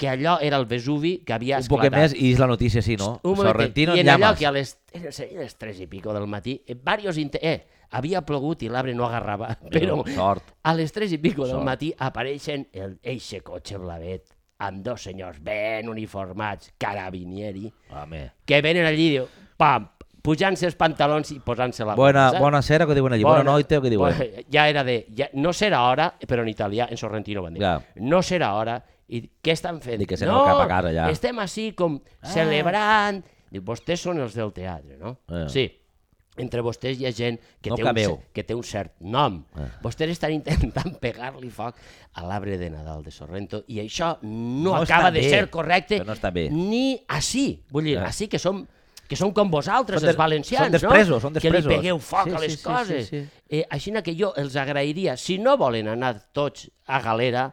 A: que allò era el Vesuvi que havia
B: Un poquet
A: esclatat.
B: més i és la notícia, sí, no?
A: Un momentet.
B: Sorrentino
A: I
B: en
A: en allò
B: llames.
A: que a les, eren- serien les 3 i pico del matí, eh, varios inte... eh, havia plogut i l'arbre no agarrava, però
B: sort.
A: a les 3 i pico del
B: Sort.
A: matí apareixen el, eixe cotxe blavet amb dos senyors ben uniformats, carabinieri,
B: Home.
A: que venen allí i diu, pam, pujant-se els pantalons i posant-se la
B: Bona,
A: saps?
B: bona sera, que diuen allí. Bona, bona noite, que eh". diuen.
A: bona- ja era de... Ja, no serà hora, però en italià, en sorrentino van dir,
B: Ja.
A: no serà hora, i què estan fent?
B: Dic que se n'aneu cap a casa, ja. Ah.
A: estem així com celebrant... Diu, vostès són els del teatre, no?
B: Eh.
A: Sí. Entre vostès hi ha gent que,
B: No Ah.
A: té, un,
B: cabeu.
A: cer- que té un cert nom. Vostès estan intentant pegar-li foc a l'arbre de Nadal de Sorrento i això no,
B: No
A: acaba
B: està
A: de
B: bé.
A: ser correcte
B: Això no està bé. Ah.
A: ni així. Vull dir,
B: Ja.
A: així que som que som com vosaltres,
B: Són des-
A: els valencians,
B: són despresos,
A: no?
B: són
A: Que
B: despresos.
A: li pegueu foc
B: Sí,
A: a les
B: sí, sí,
A: coses.
B: sí, sí.
A: Eh, així que jo els agrairia, si no volen anar tots a galera,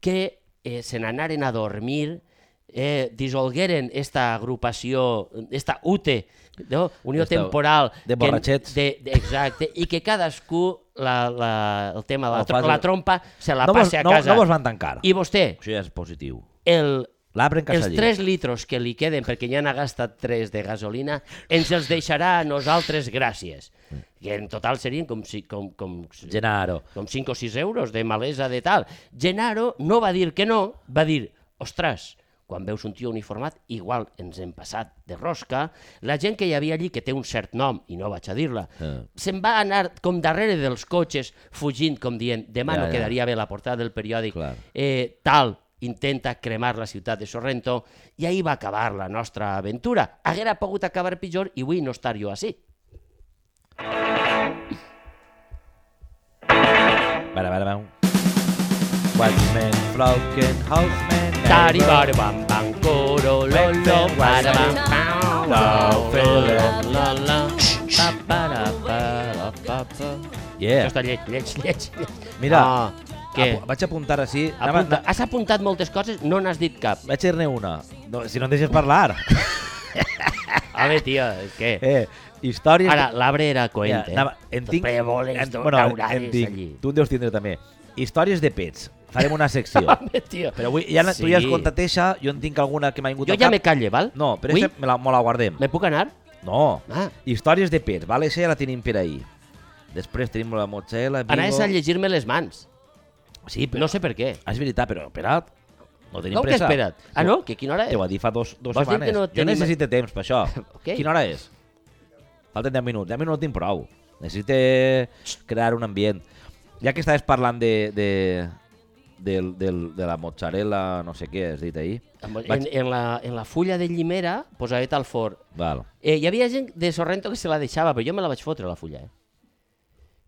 A: que eh, se n'anaren a dormir, eh, dissolgueren esta agrupació, esta UTE, no? Unió
B: Esta-
A: Temporal... que-
B: de borratxets.
A: de, de, exacte, i que cadascú la, la, el tema de la,
B: No,
A: tro
B: fas-
A: la trompa se la
B: No vos,
A: passi a
B: no,
A: casa.
B: no vos van tancar.
A: I vostè,
B: Això ja és positiu.
A: el,
B: L'arbre en
A: els
B: castellà.
A: 3 litros que li queden, perquè ja n'ha gastat 3 de gasolina, ens els deixarà a nosaltres gràcies. Que en total serien com, si, com, com,
B: Genaro.
A: com 5 o 6 euros de malesa de tal. Genaro no va dir que no, va dir, ostres, quan veus un tio uniformat, igual ens hem passat de rosca. La gent que hi havia allí, que té un cert nom, i no vaig a dir-la,
B: Ah.
A: se'n va anar com darrere dels cotxes, fugint, com dient, demà
B: Ja,
A: no
B: ja.
A: quedaria bé la portada del periòdic,
B: Clar.
A: eh, tal intenta cremar la ciutat de Sorrento i ahir va acabar la nostra aventura. Haguera pogut acabar pitjor i vull no estar jo així.
B: Vale, vale, vale. Watchmen, Flocken, Hoffman,
A: Tari, bari, bam, bam, coro, lo, lo, para, bam, pam, lo, lo, lo, lo, lo, pa, para, para, pa, pa. Això
B: Yeah.
A: està lleig, lleig, lleig. lleig.
B: Mira,
A: Ah, què?
B: Apu- vaig apuntar així. Anava,
A: Apunta.
B: na,
A: Has apuntat moltes coses, no n'has dit cap.
B: vaig dir-ne una. No, si no em deixes parlar.
A: A veure, tio, és que...
B: Eh, històries...
A: Ara, l'arbre era
B: Ja,
A: coent, eh?
B: anava- en tinc...
A: Però voles
B: en-
A: en,
B: bueno, en
A: daurades
B: tinc.
A: allí.
B: Tu en deus tindre també. Històries de pets. Farem una secció.
A: Home, tio.
B: Però avui, ja, sí. tu ja has
A: Sí.
B: contat eixa, jo en tinc alguna que m'ha vingut
A: Jo
B: al
A: ja
B: cap.
A: me calle, val?
B: No, però
A: Avui
B: eixa me la, me la guardem.
A: Me puc anar?
B: No.
A: Ah.
B: Històries de pets, vale? Això ja la tenim per ahir. Després tenim la motxella, Vigo...
A: Anaves a llegir-me les mans.
B: Sí, però... Ah,
A: No sé per què.
B: És veritat, però espera't. No tenim
A: Com que
B: pressa.
A: espera't? Ah, no? Que quina hora
B: Te
A: és?
B: ho va dir fa dos, dos
A: Vols dir
B: setmanes.
A: que no
B: jo
A: tenim-
B: necessite temps per això.
A: Ok.
B: Quina hora és? Falten 10 minuts. 10 minuts no tinc prou. Necessite crear un ambient. Ja que estaves parlant de, de, del, del, de la mozzarella, no sé què has dit ahir.
A: En,
B: Vaig-
A: en, la, en la fulla de llimera posava tal fort.
B: Val.
A: Eh, hi havia gent de Sorrento que se la deixava, però jo me la vaig fotre, la fulla. Eh?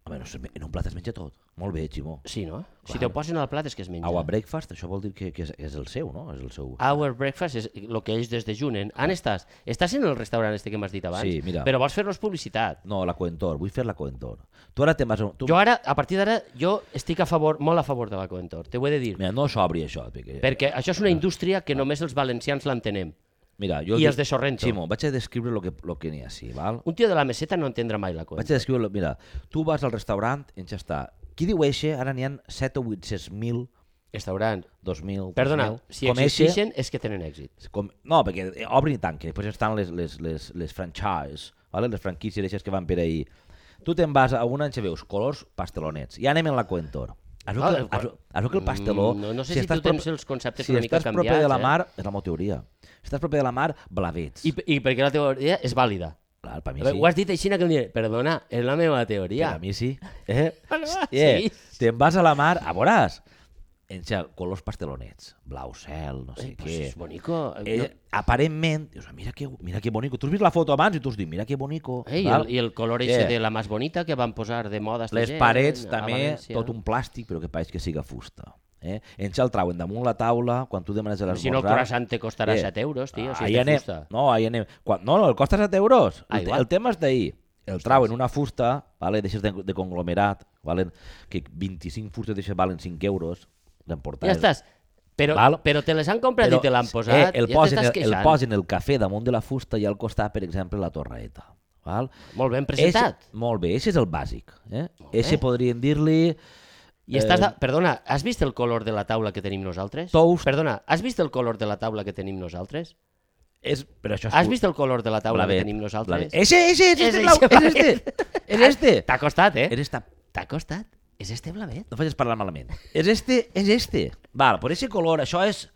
B: Home, no, se me- en un plat es menja tot. Molt bé, Ximó.
A: Sí, no? Si t'ho posen al plat és que es menja.
B: Our breakfast, això vol dir que, que és, és el seu, no? És el seu...
A: Our breakfast és el que ells desdejunen. On estàs? Estàs en el restaurant este que m'has dit abans?
B: Sí, mira.
A: Però vols fer-nos publicitat.
B: No, la coentor, vull fer la coentor. Tu ara te m'has... Tu...
A: Jo ara, a partir d'ara, jo estic a favor, molt a favor de la Coentor, t'ho he de dir.
B: Mira, eh, no s'obri això, perquè...
A: Perquè això és una indústria que només els valencians l'entenem.
B: Mira, jo
A: I
B: dic-
A: els de Sorrento.
B: Ximo, vaig a descriure el que, lo que n'hi ha així, val?
A: Un tio de la meseta no entendrà mai la
B: Vaig
A: Coentor.
B: a descriure... lo- Mira, tu vas al restaurant i ja està. Qui diu eixe? Ara n'hi ha 7 o 8, 6.000,
A: Restaurant.
B: 2.000...
A: Perdona,
B: 3.000.
A: si
B: Com eixe-
A: existeixen és que tenen èxit.
B: Com... No, perquè eh, obrin i tanquen, després estan les, les, les, les franchise, vale? les franquícies eixes que van per ahir. Tu te'n vas a una i veus colors pastelonets. I anem en la Coentor. Es veu
A: Ah,
B: que,
A: el
B: es,
A: qual-
B: veu- es veu que el pasteló...
A: Mm, no- no sé si tu tens els conceptes
B: si
A: una mica
B: estàs proper
A: canviats,
B: de la
A: eh?
B: mar, és la meva teoria. Si estàs proper de la mar, blavets.
A: I, I perquè la teva teoria és vàlida.
B: Clar, per mi
A: Sí.
B: sí.
A: Ho has dit així en aquell dia. Perdona, és la meva teoria.
B: Per a mi sí. Eh?
A: Vale, va,
B: Eh?
A: sí.
B: Te'n vas a la mar, a veuràs. Enxa, colors pastelonets, blau cel, no sé
A: Eh,
B: què.
A: pues és bonico. Eh,
B: Ell, aparentment, dius, "Ah, mira que, mira que bonico. Tu has vist la foto abans i tu has dit, mira que bonico.
A: Eh, i,
B: val?
A: el, I el color eixe
B: Eh.
A: de la més bonita que van posar de moda. esta
B: Les
A: gent, eh,
B: parets
A: a
B: també,
A: València.
B: tot un plàstic, però que pareix que siga fusta. Eh? Ens el trauen damunt la taula, quan tu demanes l'esmorzar...
A: Si no, el croissant te costarà 7 euros, tio, si és de
B: anem,
A: fusta.
B: No, ahí anem. Quan, no, no, el costa 7 euros.
A: Ah,
B: el, te-
A: igual.
B: el tema és d'ahir. El trauen una fusta, vale, deixes de, de conglomerat, valen, que 25 fustes deixes valen 5 euros, l'emportar.
A: Ja estàs. Però,
B: Val.
A: però te les han comprat i te l'han posat.
B: Eh, el,
A: ja
B: posen,
A: t'estàs
B: el, el
A: queixant.
B: posen el cafè damunt de la fusta i al costat, per exemple, la torraeta. Val?
A: Molt ben presentat.
B: Eixe, molt bé, eixe és el bàsic. Eh? Eixe podríem dir-li... eh,
A: I estàs de... Perdona, has vist el color de la taula que tenim nosaltres?
B: Tous.
A: Perdona, has vist el color de la taula que tenim nosaltres?
B: És, però això és
A: Has
B: cul-
A: vist el color de la taula
B: Blavet,
A: que tenim
B: blavet.
A: nosaltres?
B: Eixe, eixe,
A: És
B: és, este,
A: eixe,
B: blau, és
A: vale.
B: este. És este.
A: T'ha costat, eh?
B: És esta.
A: T'ha costat? És este blavet?
B: No facis parlar malament. És este, és este. Val, per eixe color, això és...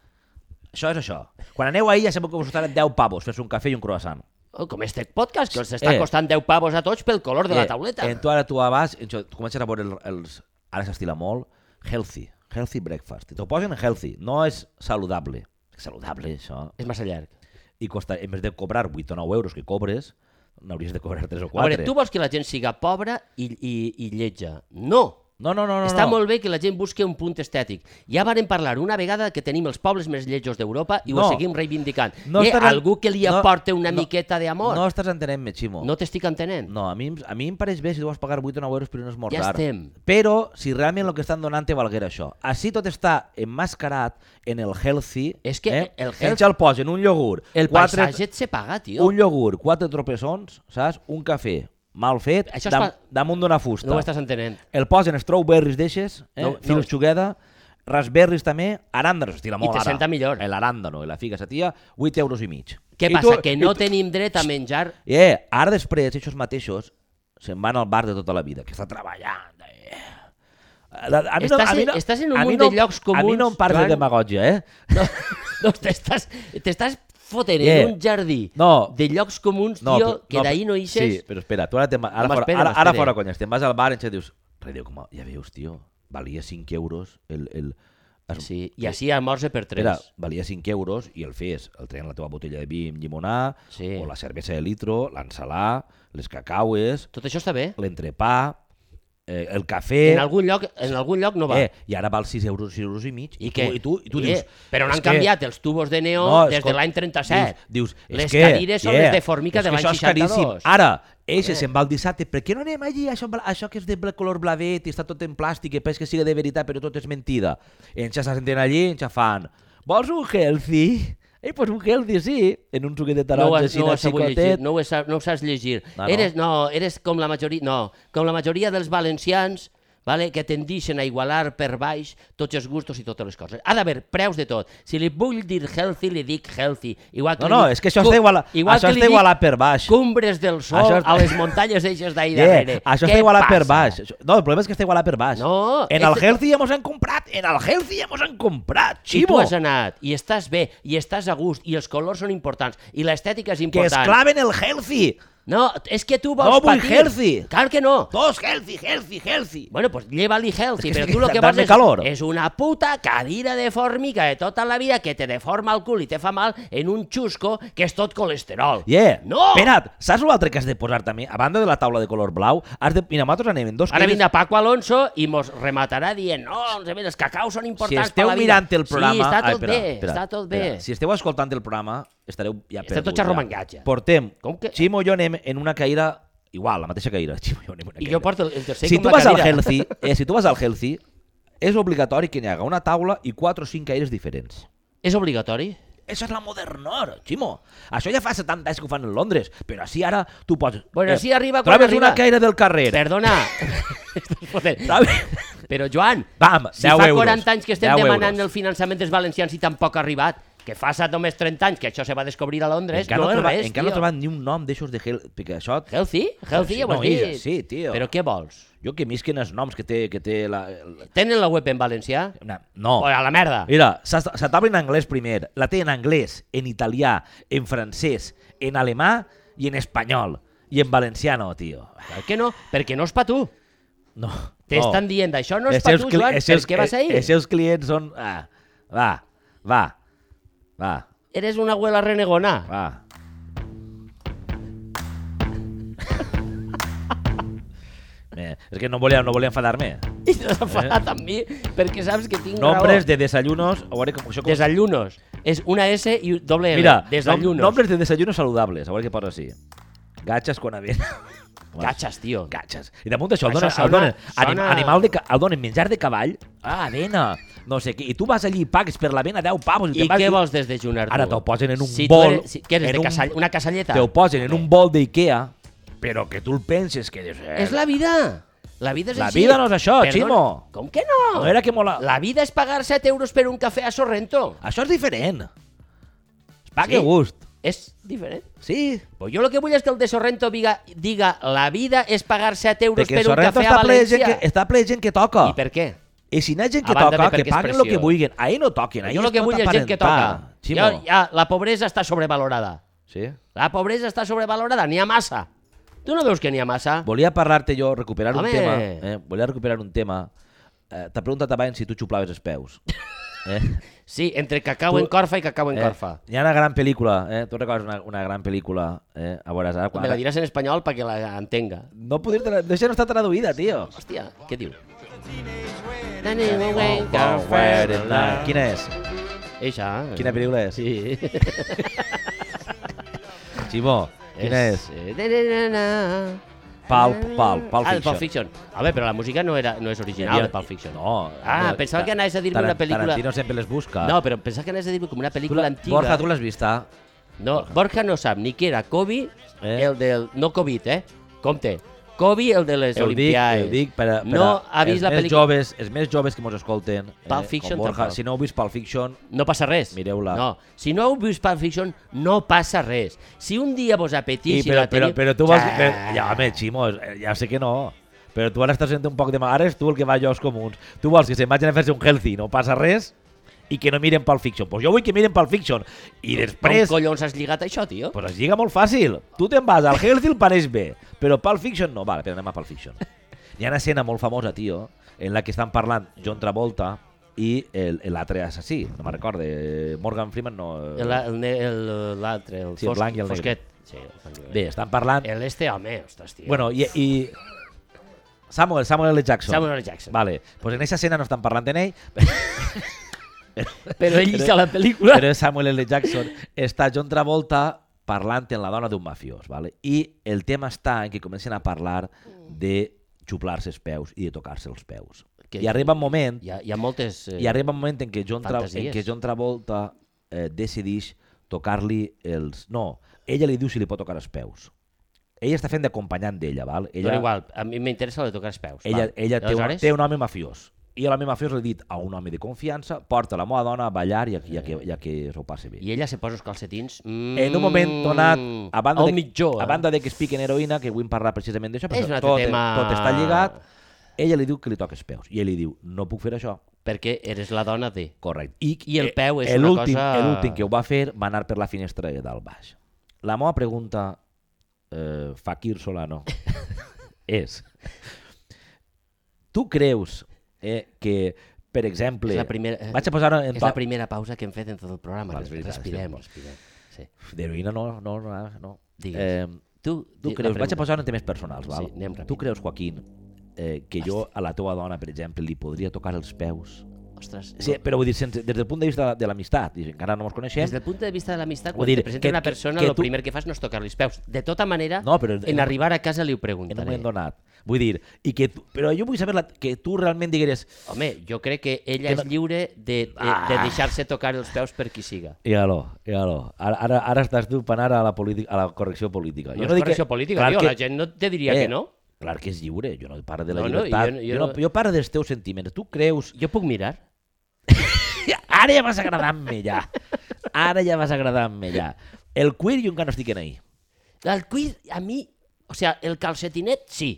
B: Això és això. Quan aneu ahir ja sabeu que vos costaran 10 pavos fer un cafè i un croissant.
A: Oh, com este podcast, que els està
B: Eh.
A: costant 10 pavos a tots pel color de la tauleta.
B: En tu Eh, ara tu vas, en tu comences a veure el- els... Ara s'estila molt. Healthy. Healthy breakfast. I t'ho posen healthy. No és saludable. Saludable, això.
A: És massa llarg.
B: I costa, en vez de cobrar 8 o 9 euros que cobres, n'hauries de cobrar 3 o 4.
A: A veure, tu vols que la gent siga pobra i, i, i lletja. No!
B: No, no, no, no.
A: Està
B: no.
A: molt bé que la gent busqui un punt estètic. Ja varen parlar una vegada que tenim els pobles més lletjos d'Europa i
B: No.
A: ho seguim reivindicant.
B: No
A: No eh,
B: estarà-
A: algú que li
B: no,
A: aporte una
B: no,
A: miqueta d'amor.
B: No
A: No,
B: estàs entenent-me, Ximo.
A: no t'estic entenent.
B: No, a mi, em- a mi em pareix bé si tu vas pagar 8 o 9 euros per un esmorzar.
A: Ja estem.
B: Però si realment el que estan donant te valguera això. Així tot està emmascarat en el healthy.
A: És que
B: eh?
A: el
B: En
A: health-
B: ja el posen un iogurt.
A: El
B: quatre,
A: paisatge et se paga, tio.
B: Un iogurt, quatre tropessons, saps? Un cafè mal fet,
A: Això es
B: dam,
A: fa-
B: damunt d'una fusta.
A: No ho estàs entenent.
B: El posen strawberries d'eixes, eh?
A: No,
B: no,
A: no.
B: fils xugueda, raspberries també, aràndanos, estira molt
A: te
B: ara.
A: senta millor.
B: L'aràndano i la figa sa tia, 8 euros i mig.
A: Què
B: I
A: passa,
B: tu-
A: que
B: i
A: no
B: tu-
A: tenim dret a menjar?
B: Eh, ara després, ells mateixos se'n van al bar de tota la vida, que està treballant. Eh. La- A mi
A: Estàs
B: a mi
A: en- estàs en un
B: a mi
A: munt de llocs
B: A mi
A: comuns,
B: no em parles
A: Joan.
B: de demagògia, eh?
A: No, no t'estàs t'estàs fotent
B: Yeah.
A: en un jardí
B: No.
A: de llocs comuns, tio,
B: però-
A: que d'ahir no ixes.
B: Sí, però espera, tu ara, te, ara,
A: Home,
B: fora,
A: espera,
B: ara, ara
A: m'espere.
B: fora conyes, te'n vas al bar i ens dius, rediu, com, a- ja veus, tio, valia 5 euros el... el, el
A: Sí, i així almorza per tres.
B: Espera, valia 5 euros i el fes. El treien la teva botella de vi amb llimonà,
A: Sí.
B: o la cervesa de litro, l'ensalà, les cacaues,
A: Tot això està bé?
B: l'entrepà, eh, el cafè...
A: En algun lloc, en algun lloc no va.
B: Eh, I ara val 6 euros, 6 euros i mig.
A: I què?
B: tu, i tu, i tu dius...
A: Eh, però
B: "És
A: n'han
B: que-
A: canviat els tubos de neó
B: No,
A: des
B: escolta,
A: de l'any 37.
B: Dius, dius
A: Les
B: és que,
A: cadires són les de formica
B: és
A: de
B: que
A: l'any Eh.
B: això és caríssim.
A: 62.
B: Ara, eixe se'n va el dissabte, per què no anem allí, això, bla- això que és de bla- color blavet i està tot en plàstic i pes que siga de veritat, però tot és mentida. I ens ja se senten allí i ens ja fan, vols un healthy? Ei, pues un healthy, sí, en un suquet
A: no
B: de
A: ho,
B: taronja,
A: has-
B: així,
A: no, ho
B: no,
A: has sabut llegir,
B: xicotet.
A: no, ho has, no ho saps llegir.
B: Ah, no?
A: No, eres, no, eres com la majoria, no, com la majoria dels valencians vale, que tendeixen a igualar per baix tots els gustos i totes les coses. Ha d'haver preus de tot. Si li vull dir healthy, li dic healthy. Igual que
B: No,
A: li
B: no,
A: dic
B: és que això
A: cu-
B: està igualat-
A: igual
B: això
A: que li
B: està
A: dic
B: igualat per baix.
A: Cumbres del sol
B: Això està-
A: a les muntanyes eixes d'ahir
B: Yeah,
A: darrere.
B: això
A: Què
B: està igualat per
A: passa?
B: baix. Això- No, el problema és que està igualat per baix.
A: No,
B: en el
A: este-
B: healthy ja mos han comprat, en el healthy ja mos han comprat,
A: I tu
B: xivo.
A: has anat, i estàs bé, i estàs a gust, i els colors són importants, i l'estètica és
B: Que es
A: important.
B: claven el healthy.
A: No, és que tu vols
B: No vull
A: patir.
B: healthy.
A: Clar que no.
B: Dos, healthy, healthy, healthy.
A: Bueno, pues llévali healthy,
B: És que
A: però
B: sí,
A: tu lo que vols
B: dame
A: és,
B: calor.
A: és una puta cadira de formiga de tota la vida que te deforma el cul i te fa mal en un xusco que és tot colesterol.
B: Yeah.
A: No!
B: Espera't, saps l'altre que has de posar també? A banda de la taula de color blau, has de... Mira, nosaltres anem en dos
A: Ara
B: quilles-
A: vindrà Paco Alonso i mos rematarà dient no, els, els cacaus són
B: Si
A: importants per
B: esteu
A: la vida.
B: mirant el programa...
A: Sí, està tot
B: Ai, espera,
A: bé,
B: espera,
A: està tot bé.
B: espera. Si esteu escoltant el programa, estareu ja
A: Està
B: perduts,
A: tot xarromangatge.
B: Ja. Portem
A: Com que-
B: Ximo i jo anem en una caïra igual, la mateixa caïra. Ximo i jo anem en una
A: I
B: caïra.
A: jo porto el, el tercer
B: si
A: com
B: tu
A: la
B: vas al
A: cadira.
B: Healthy, eh, si tu vas al Healthy, és obligatori que n'hi haga una taula i 4 o 5 caires diferents.
A: És obligatori?
B: Això és la modernor, Ximo. Això ja fa 70 anys que ho fan a Londres, però així ara tu pots... Eh,
A: Bueno, així arriba quan
B: Trobes
A: arriba.
B: una caire del carrer.
A: Perdona. Estàs fotent.
B: Trobes...
A: Però Joan,
B: Bam,
A: si
B: 10
A: fa
B: euros.
A: 40 anys que estem
B: 10
A: demanant
B: euros.
A: el finançament dels valencians i tampoc ha arribat, que fa sa només 30 anys que això se va descobrir a Londres,
B: Encara no,
A: no és
B: ha trobat,
A: res,
B: encara no
A: tio.
B: he trobat ni un nom d'aixos de Hell... Perquè això...
A: Healthy? Healthy, ja ho has
B: No, Illa,
A: dit.
B: sí, tio.
A: Però què vols?
B: Jo que misquen els noms que té... Que té la, la...
A: Tenen la web en valencià?
B: Una... No.
A: O a la merda.
B: Mira, s'ha- se t'abre en anglès primer, la té en anglès, en italià, en francès, en alemà i en espanyol. I en valencià no, tio.
A: Per què no? Perquè no és pa tu.
B: No.
A: T'estan
B: no.
A: dient, això no és
B: Els
A: pa
B: seus
A: tu,
B: cli-
A: Joan,
B: els seus- eh,
A: per què vas ahir?
B: Els seus clients són... Ah, va, va, va,
A: Eres una abuela renegona.
B: va. Eh, és que no volia, no volia enfadar-me.
A: I t'has enfadat amb mi perquè saps que tinc
B: Eh. Nombres
A: raó.
B: de desayunos... A veure com, això com...
A: Desayunos. És una S i doble L.
B: Mira, nom,
A: Desayunos.
B: nombres de desayunos saludables. A veure què posa així. Gatxes quan avent.
A: Catxes, tio.
B: Gatxes. I damunt d'això el
A: Això
B: donen,
A: sona-
B: el donen anim,
A: sona-
B: animal de, ca- el donen menjar de cavall. Ah, avena. No sé què. I tu vas allí i pagues per la vena 10 pavos.
A: I
B: te'n vas
A: què vols desdejunar tu?
B: Ara te'l posen en un
A: si tu
B: bol,
A: Eres, si, què eres,
B: en
A: de
B: un-
A: casall, una casalleta?
B: Te'l posen en un bol d'Ikea, però que tu el penses que... Dius, eh,
A: És la vida. La vida és
B: La
A: així.
B: vida no és això, Ximo.
A: Com que no?
B: No era que mola...
A: La vida és pagar 7 euros per un cafè a Sorrento.
B: Això és diferent. Es paga
A: Sí?
B: a gust.
A: És diferent.
B: Sí.
A: Pues jo el que vull és que el de Sorrento diga, diga la vida és pagar 7 euros
B: Perquè
A: per un
B: Sorrento
A: cafè
B: està
A: a
B: ple, de gent
A: València.
B: que, està ple de gent que toca.
A: I per què?
B: I si n'hi ha gent
A: A
B: que
A: banda de
B: toca,
A: perquè
B: que
A: és
B: paguen el que
A: pressió.
B: vulguen. Ahir no toquen, ahir
A: Jo el que
B: es pot
A: vull és gent que toca.
B: aparentar.
A: Jo,
B: Ximo.
A: ja, la pobresa està sobrevalorada.
B: Sí?
A: La pobresa està sobrevalorada, n'hi ha massa. Tu no veus que n'hi ha massa?
B: Volia parlar-te jo, recuperar
A: Home.
B: un tema. Eh? Volia recuperar un tema. Eh, T'ha preguntat abans si tu xuplaves els peus. Eh?
A: Sí, entre cacau
B: Tu-
A: en corfa i cacau en corfa.
B: Eh, hi ha una gran pel·lícula, eh? Tu recordes una, una gran pel·lícula, eh? A veure, ara...
A: Me la diràs en espanyol perquè la entenga.
B: No podria... Tra... Deixa no està traduïda, tio.
A: Hòstia, què diu?
B: Oh, Quina és?
A: Eixa. eh?
B: Quina pel·lícula és?
A: Sí.
B: Ximó, quina és?
A: eh, na, na, na, na.
B: Pulp, Pulp, Pulp
A: Ah, de Pulp
B: Fiction.
A: Fiction. A veure, però la música no, era, no és original de Pulp Fiction.
B: No.
A: Ah,
B: no,
A: pensava
B: Ta-
A: que anaves a dir-me una pel·lícula-
B: Tarantino sempre les busca.
A: No, però pensava que anaves a dir com una
B: tu
A: pel·lícula
B: la,
A: antiga.
B: Borja, tu l'has vista?
A: No, Borja no sap ni qui era Kobe,
B: Eh?
A: eh? el del... No Covid, eh? Compte. Kobe, el de les
B: ho dic,
A: Olimpiades.
B: ho dic per, a- per
A: eh? no
B: a-
A: ha vist
B: els
A: la
B: més
A: pel·lícula...
B: Joves, els més joves que mos escolten, eh,
A: Pulp Fiction
B: com Borja,
A: tampoc.
B: si no heu vist Pulp Fiction,
A: No passa res.
B: Mireu-la.
A: No, si no heu vist Pulp Fiction, no passa res. Si un dia vos apetís...
B: I,
A: si
B: però,
A: la
B: però,
A: teniu...
B: però tu vols...
A: Ja.
B: Però, ja, home, Ximo, eh, ja sé que no. Però tu ara estàs sent un poc de mal. Ara és tu el que va a llocs comuns. Tu vols que se'n vagin a fer-se un healthy, no passa res, i que no miren Pulp Fiction. Pues jo vull que miren Pulp Fiction. I després...
A: Com collons has lligat això, tio?
B: Pues es lliga molt fàcil. Tu te'n vas al Healthy el pareix bé, però Pulp Fiction no. Vale, però anem a Pulp Fiction. Hi ha una escena molt famosa, tio, en la que estan parlant John Travolta i el- l'altre assassí, no me'n recordo, eh, Morgan Freeman no... eh,
A: El- el ne- el- L'altre, el, el,
B: Sí, el blanc i el negre.
A: Fosquet. Sí, el blanc i el negre.
B: Bé, estan parlant...
A: El este home, ostres, tio.
B: Bueno, i, i... Samuel, Samuel L. Jackson.
A: Samuel L. Jackson.
B: Vale, pues en aquesta escena no estan parlant en ell,
A: però ell
B: però-
A: hizo la pel·lícula.
B: però és Samuel L. Jackson. Està John Travolta parlant en la dona d'un mafiós, vale? i el tema està en que comencen a parlar de xuplar-se els peus i de tocar-se els peus.
A: Que-
B: I arriba un moment
A: Hi ha, hi ha moltes... Eh,
B: i arriba un moment en què John, Tra en
A: Fantasies.
B: què John Travolta eh, decideix tocar-li els... No, ella li diu si li pot tocar els peus. Ell està fent d'acompanyant d'ella, val?
A: ella...
B: Ella,
A: Però igual, a mi m'interessa el de tocar els peus.
B: ella,
A: val.
B: ella té, un,
A: Aleshores,
B: té un home mafiós. I l'home mafiós li ha dit a un home de confiança porta la meva dona a ballar i a, i a, que, i a que s'ho passi bé.
A: I ella se posa els calcetins... Mm,
B: En un moment donat, a banda,
A: al
B: de,
A: mitjó, eh?
B: a banda de que es piquen heroïna, que vull parlar precisament d'això,
A: És un
B: però
A: altre
B: tot,
A: tema.
B: tot està lligat, ella li diu que li toca els peus. I ell li diu, no puc fer això.
A: eh, Perquè eres la dona de...
B: Correcte. I,
A: I el peu és
B: eh,
A: una
B: l'últim-
A: cosa-
B: L'últim que ho va fer va anar per la finestra de dalt baix. La meva pregunta eh, Fakir Solano, és... Tu creus eh, que, per exemple...
A: És la primera-
B: Vaig a posar en
A: És
B: to-
A: la primera pausa que hem fet en tot el programa.
B: Val,
A: Res-
B: és veritat,
A: respirem,
B: és
A: respirem. Sí.
B: D'heroïna no, no, no. no.
A: Digues.
B: tu, tu
A: di-
B: creus,
A: la
B: vaig
A: pregunta.
B: a posar en temes personals, val?
A: Sí, anem ràpid.
B: tu creus, Joaquín, eh, que jo a la teva dona, per exemple, li podria tocar els peus?
A: Ostres,
B: Sí,
A: no.
B: però vull dir, sense, des del punt de vista de, de l'amistat, i encara no ens coneixem,
A: Des del punt de vista de l'amistat,
B: Vull
A: quan
B: dir,
A: dir, te presenta
B: que-
A: una
B: que-
A: persona,
B: que
A: el
B: tu-
A: primer que fas no és tocar-li els peus. De tota manera,
B: No, però en-
A: en, arribar a casa li ho
B: en un
A: preguntaré.
B: moment donat. Vull dir, i que tu, però jo vull saber la, que tu realment digueres
A: Home, jo crec que ella
B: Que
A: és
B: no-
A: lliure de, de, de
B: Ah.
A: deixar-se tocar els peus per qui siga.
B: Ja lo, ja lo. eh, Ara, ara, ara estàs tu penant a la, política, a la correcció política.
A: No és correcció política, tio, la gent no te diria que no.
B: eh, Clar que és lliure, jo no parlo de la
A: No, no,
B: llibertat.
A: jo no-
B: jo,
A: jo
B: jo,
A: no-
B: no, jo parlo dels teus sentiments. Tu creus...
A: Jo puc mirar?
B: Ara ja vas agradant-me, ja. Ara ja vas agradant-me, ja. El queer jo encara no estic en ahir.
A: El cuir, a mi... O sigui, el calcetinet, sí.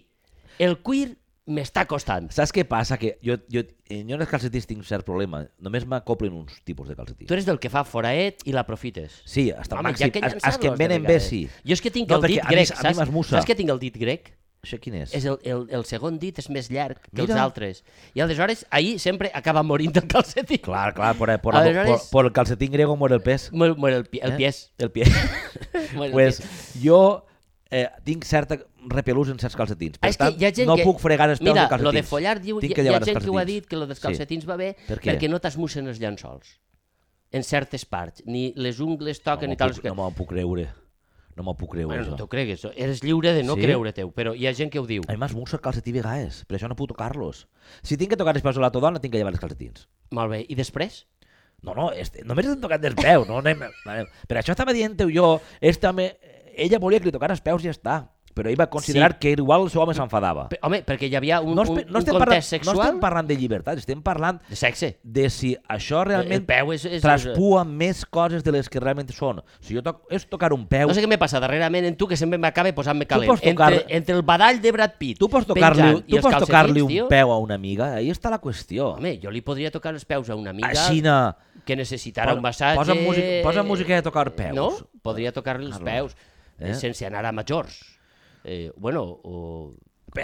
A: El cuir m'està costant.
B: Saps què passa? Que jo, jo, eh, jo en els calcetins tinc un cert problema. Només m'acoplen uns tipus de calcetins.
A: Tu eres del que fa foraet i l'aprofites.
B: Sí, hasta el
A: Home,
B: màxim.
A: ja que
B: els- els que
A: llançar-los
B: em
A: de
B: venen bé,
A: vegades.
B: sí.
A: Jo és que tinc
B: No,
A: el
B: perquè
A: dit
B: a mi-
A: grec,
B: a mi
A: saps?
B: m'esmussa.
A: Saps que tinc el dit grec?
B: Això quin és?
A: És el, el, el segon dit és més llarg que Mira. els
B: Mira.
A: altres. I aleshores, ahir sempre acaba morint el calcetí.
B: Clar, clar, por, por,
A: Aleshores-
B: por, por el calcetín griego muere el pes. eh?
A: Mor, mor el, pi- el pies.
B: El pie.
A: Bueno,
B: pues, jo eh, tinc certa repelús en certs calcetins. Per
A: Ah, és
B: tant,
A: que hi ha gent
B: no
A: que...
B: puc fregar els peus
A: Mira,
B: amb calcetins.
A: lo de follar, diu, hi,
B: tinc
A: hi ha
B: llevar els
A: gent que ho ha
B: calcetins.
A: dit, que lo dels
B: Sí.
A: calcetins va bé,
B: Per què?
A: perquè no t'esmussen els llençols en certes parts, ni les ungles toquen
B: no
A: i tal.
B: m'ho puc, no me'l puc creure. No me'l puc creure,
A: bueno, no
B: això.
A: t'ho cregues, eres lliure de no
B: Sí?
A: creure-teu, però hi ha gent que ho diu.
B: A mi m'esmussa el calcetí a vegades, per això no puc tocar-los. Si tinc que tocar els peus a la teva dona, tinc que llevar els calcetins.
A: Molt bé, i després?
B: No, no, este, només hem tocat dels peus. No, anem, anem. Per això estava dient jo, esta me... ella volia que li tocara els peus i ja està. Però ell va considerar
A: Sí.
B: sí. que igual el seu home s'enfadava.
A: Pe- Home, perquè hi havia un,
B: No,
A: un,
B: espe-
A: un
B: no, estem parlant,
A: context sexual...
B: sexual? no estem parlant de llibertat, estem parlant
A: De sexe.
B: de si això
A: El
B: realment
A: peu és- és-
B: traspua més coses de les que realment són. Si jo toc, és tocar un peu,
A: No sé què m'he passat darrerament en tu, que sempre m'acaba posant-me calent.
B: pots tocar-
A: entre, entre el badall de Brad Pitt,
B: tu pots tocar-li
A: penjant, i
B: tu
A: els
B: pots
A: calcetins,
B: tocar un
A: tio,
B: peu a una amiga, ahí està la qüestió.
A: Home, jo li podria tocar els peus a una amiga
B: Aixina,
A: que necessitarà
B: Posa-
A: un massatge...
B: posa música- posa música de tocar peus.
A: No? Podria tocar-li els
B: Carlos,
A: peus eh?
B: eh?
A: sense anar a majors. Eh, bueno, o...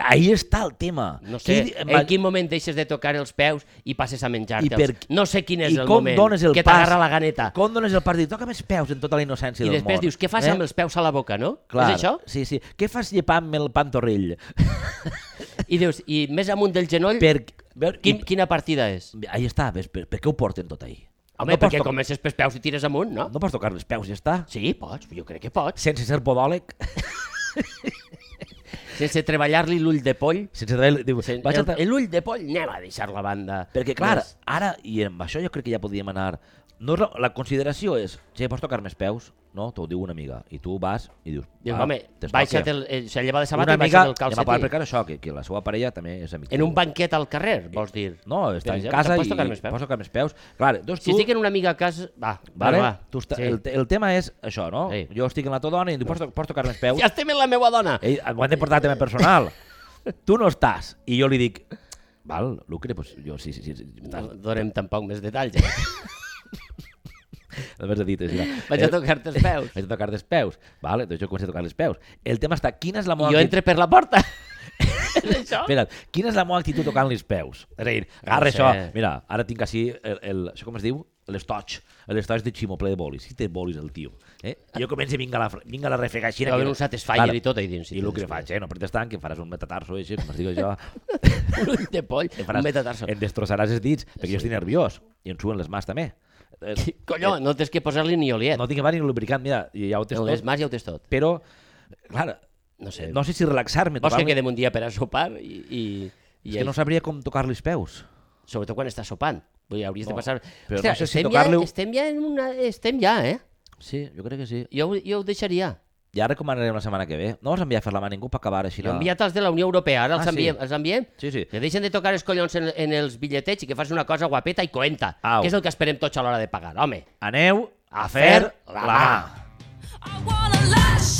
B: ahí està el tema.
A: No sé, eh,
B: Qui-
A: en quin moment deixes de tocar els peus i passes a menjar-te'ls.
B: I per-
A: No sé quin és
B: i
A: el
B: com
A: moment
B: dones el
A: que
B: pas?
A: t'agarra la ganeta.
B: Com dones el partit? Toca més peus en tota la innocència
A: I
B: del
A: després
B: món. eh?"
A: dius, què fas amb els peus a la boca, no?
B: Clar,
A: És això?
B: Sí, sí. Què fas llepant-me el pantorrill?
A: I dius, i més amunt del genoll,
B: per... Veure,
A: quin, quina partida és?
B: Ahí està, ves, per, per què ho porten tot ahí?
A: Home,
B: pots
A: perquè
B: tocar-
A: comences pels peus i tires amunt, no?
B: No pots tocar els peus, ja està.
A: Sí, pots, jo crec que pots.
B: Sense ser podòleg,
A: Sense treballar-li l'ull de poll.
B: sense treballar... Diu,
A: sen-
B: vaig a...
A: el- L'ull de poll anem a deixar la banda.
B: Perquè, clar,
A: Més.
B: ara, i amb això jo crec que ja podíem anar... No, és la, la consideració és, si pots tocar més peus? No, t'ho diu una amiga. I tu vas i dius...
A: Diu,
B: "Ah,
A: home,
B: t'es
A: baixa't
B: tòquia".
A: el, eh, se lleva de
B: Una
A: sabata i baixa't
B: amiga,
A: el
B: Ja m'ha
A: calcetí.
B: parlat això, que, que la seva parella també és amiga.
A: En un banquet al carrer, vols dir?
B: No, està
A: Per
B: en
A: exemple,
B: casa
A: te'n
B: i
A: pots tocar més peus?
B: pots tocar més peus. Clar, doncs
A: Si
B: tu...
A: estic en una amiga a casa... Va,
B: Vale?
A: va, va.
B: Tu està,
A: Sí.
B: el, te- el tema és això, no?
A: Sí.
B: Jo estic en la teva dona i diu, pots, to- pots tocar més peus?
A: Ja estem en la meua dona.
B: Ei, ho han de portar a tema personal. tu no estàs. I jo li dic, val, Lucre, pues jo sí, sí, sí. sí
A: No
B: estàs,
A: donem tampoc més detalls. eh?
B: Només he dit, és veritat.
A: Vaig a
B: Eh,
A: tocar-te els peus.
B: Vaig a tocar dels peus. Vale, doncs jo començo a tocar els peus. El tema està, quina és la
A: I
B: meva
A: jo entre per la porta. És això?
B: Espera't, quina és la meva actitud tocant els peus? És a dir, agarra
A: No
B: no
A: sé.
B: això, mira, ara tinc així, el, el, això com es diu? L'estoig, l'estoig de ximo ple de bolis. Si té bolis el tio, eh? I jo començo, vinga la, fre- vinga la refregaixina.
A: Deu haver
B: que-
A: un Satisfyer i tot ahí dins, si
B: I el que
A: tens
B: faig, eh? No protestant, que em faràs un metatarso, eh, així, com es diu això.
A: L'ull de poll,
B: Em
A: un metatarso.
B: Em destrossaràs els dits, perquè jo estic nerviós. I em suen les mans, també. Eh,
A: Colló, no tens que posar-li ni oliet.
B: No tinc abans ni lubricant, mira, i ja ho tens
A: No, és
B: tot.
A: mas ja ho tens tot.
B: Però, clar,
A: No sé.
B: no sé si relaxar-me.
A: Vols que
B: tocar-me-
A: quedem un dia per a sopar i... i, i
B: És que no sabria com tocar-li els peus.
A: Sobretot quan estàs sopant. Vull dir, hauries de
B: No,
A: passar...
B: però no sé si
A: estem, ja,
B: tocar-li-ho-
A: estem ja en una... Estem ja, eh?
B: Sí, jo crec que sí.
A: Jo, ho- jo ho deixaria.
B: Ja recomanarem la setmana que ve. No els enviar a fer la mà a ningú per acabar així.
A: Jo he
B: La...
A: enviat els de la Unió Europea, ara els,
B: Ah, sí?
A: enviem, els enviem.
B: Sí, sí.
A: Que deixen de tocar els collons en, en els bitlletets i que facin una cosa guapeta i coenta,
B: Au.
A: que és el que esperem tots a l'hora de pagar, home.
B: Aneu
A: A
B: a
A: fer
B: fer
A: la
B: la
A: mà.
B: mà.
E: I wanna lash Ah.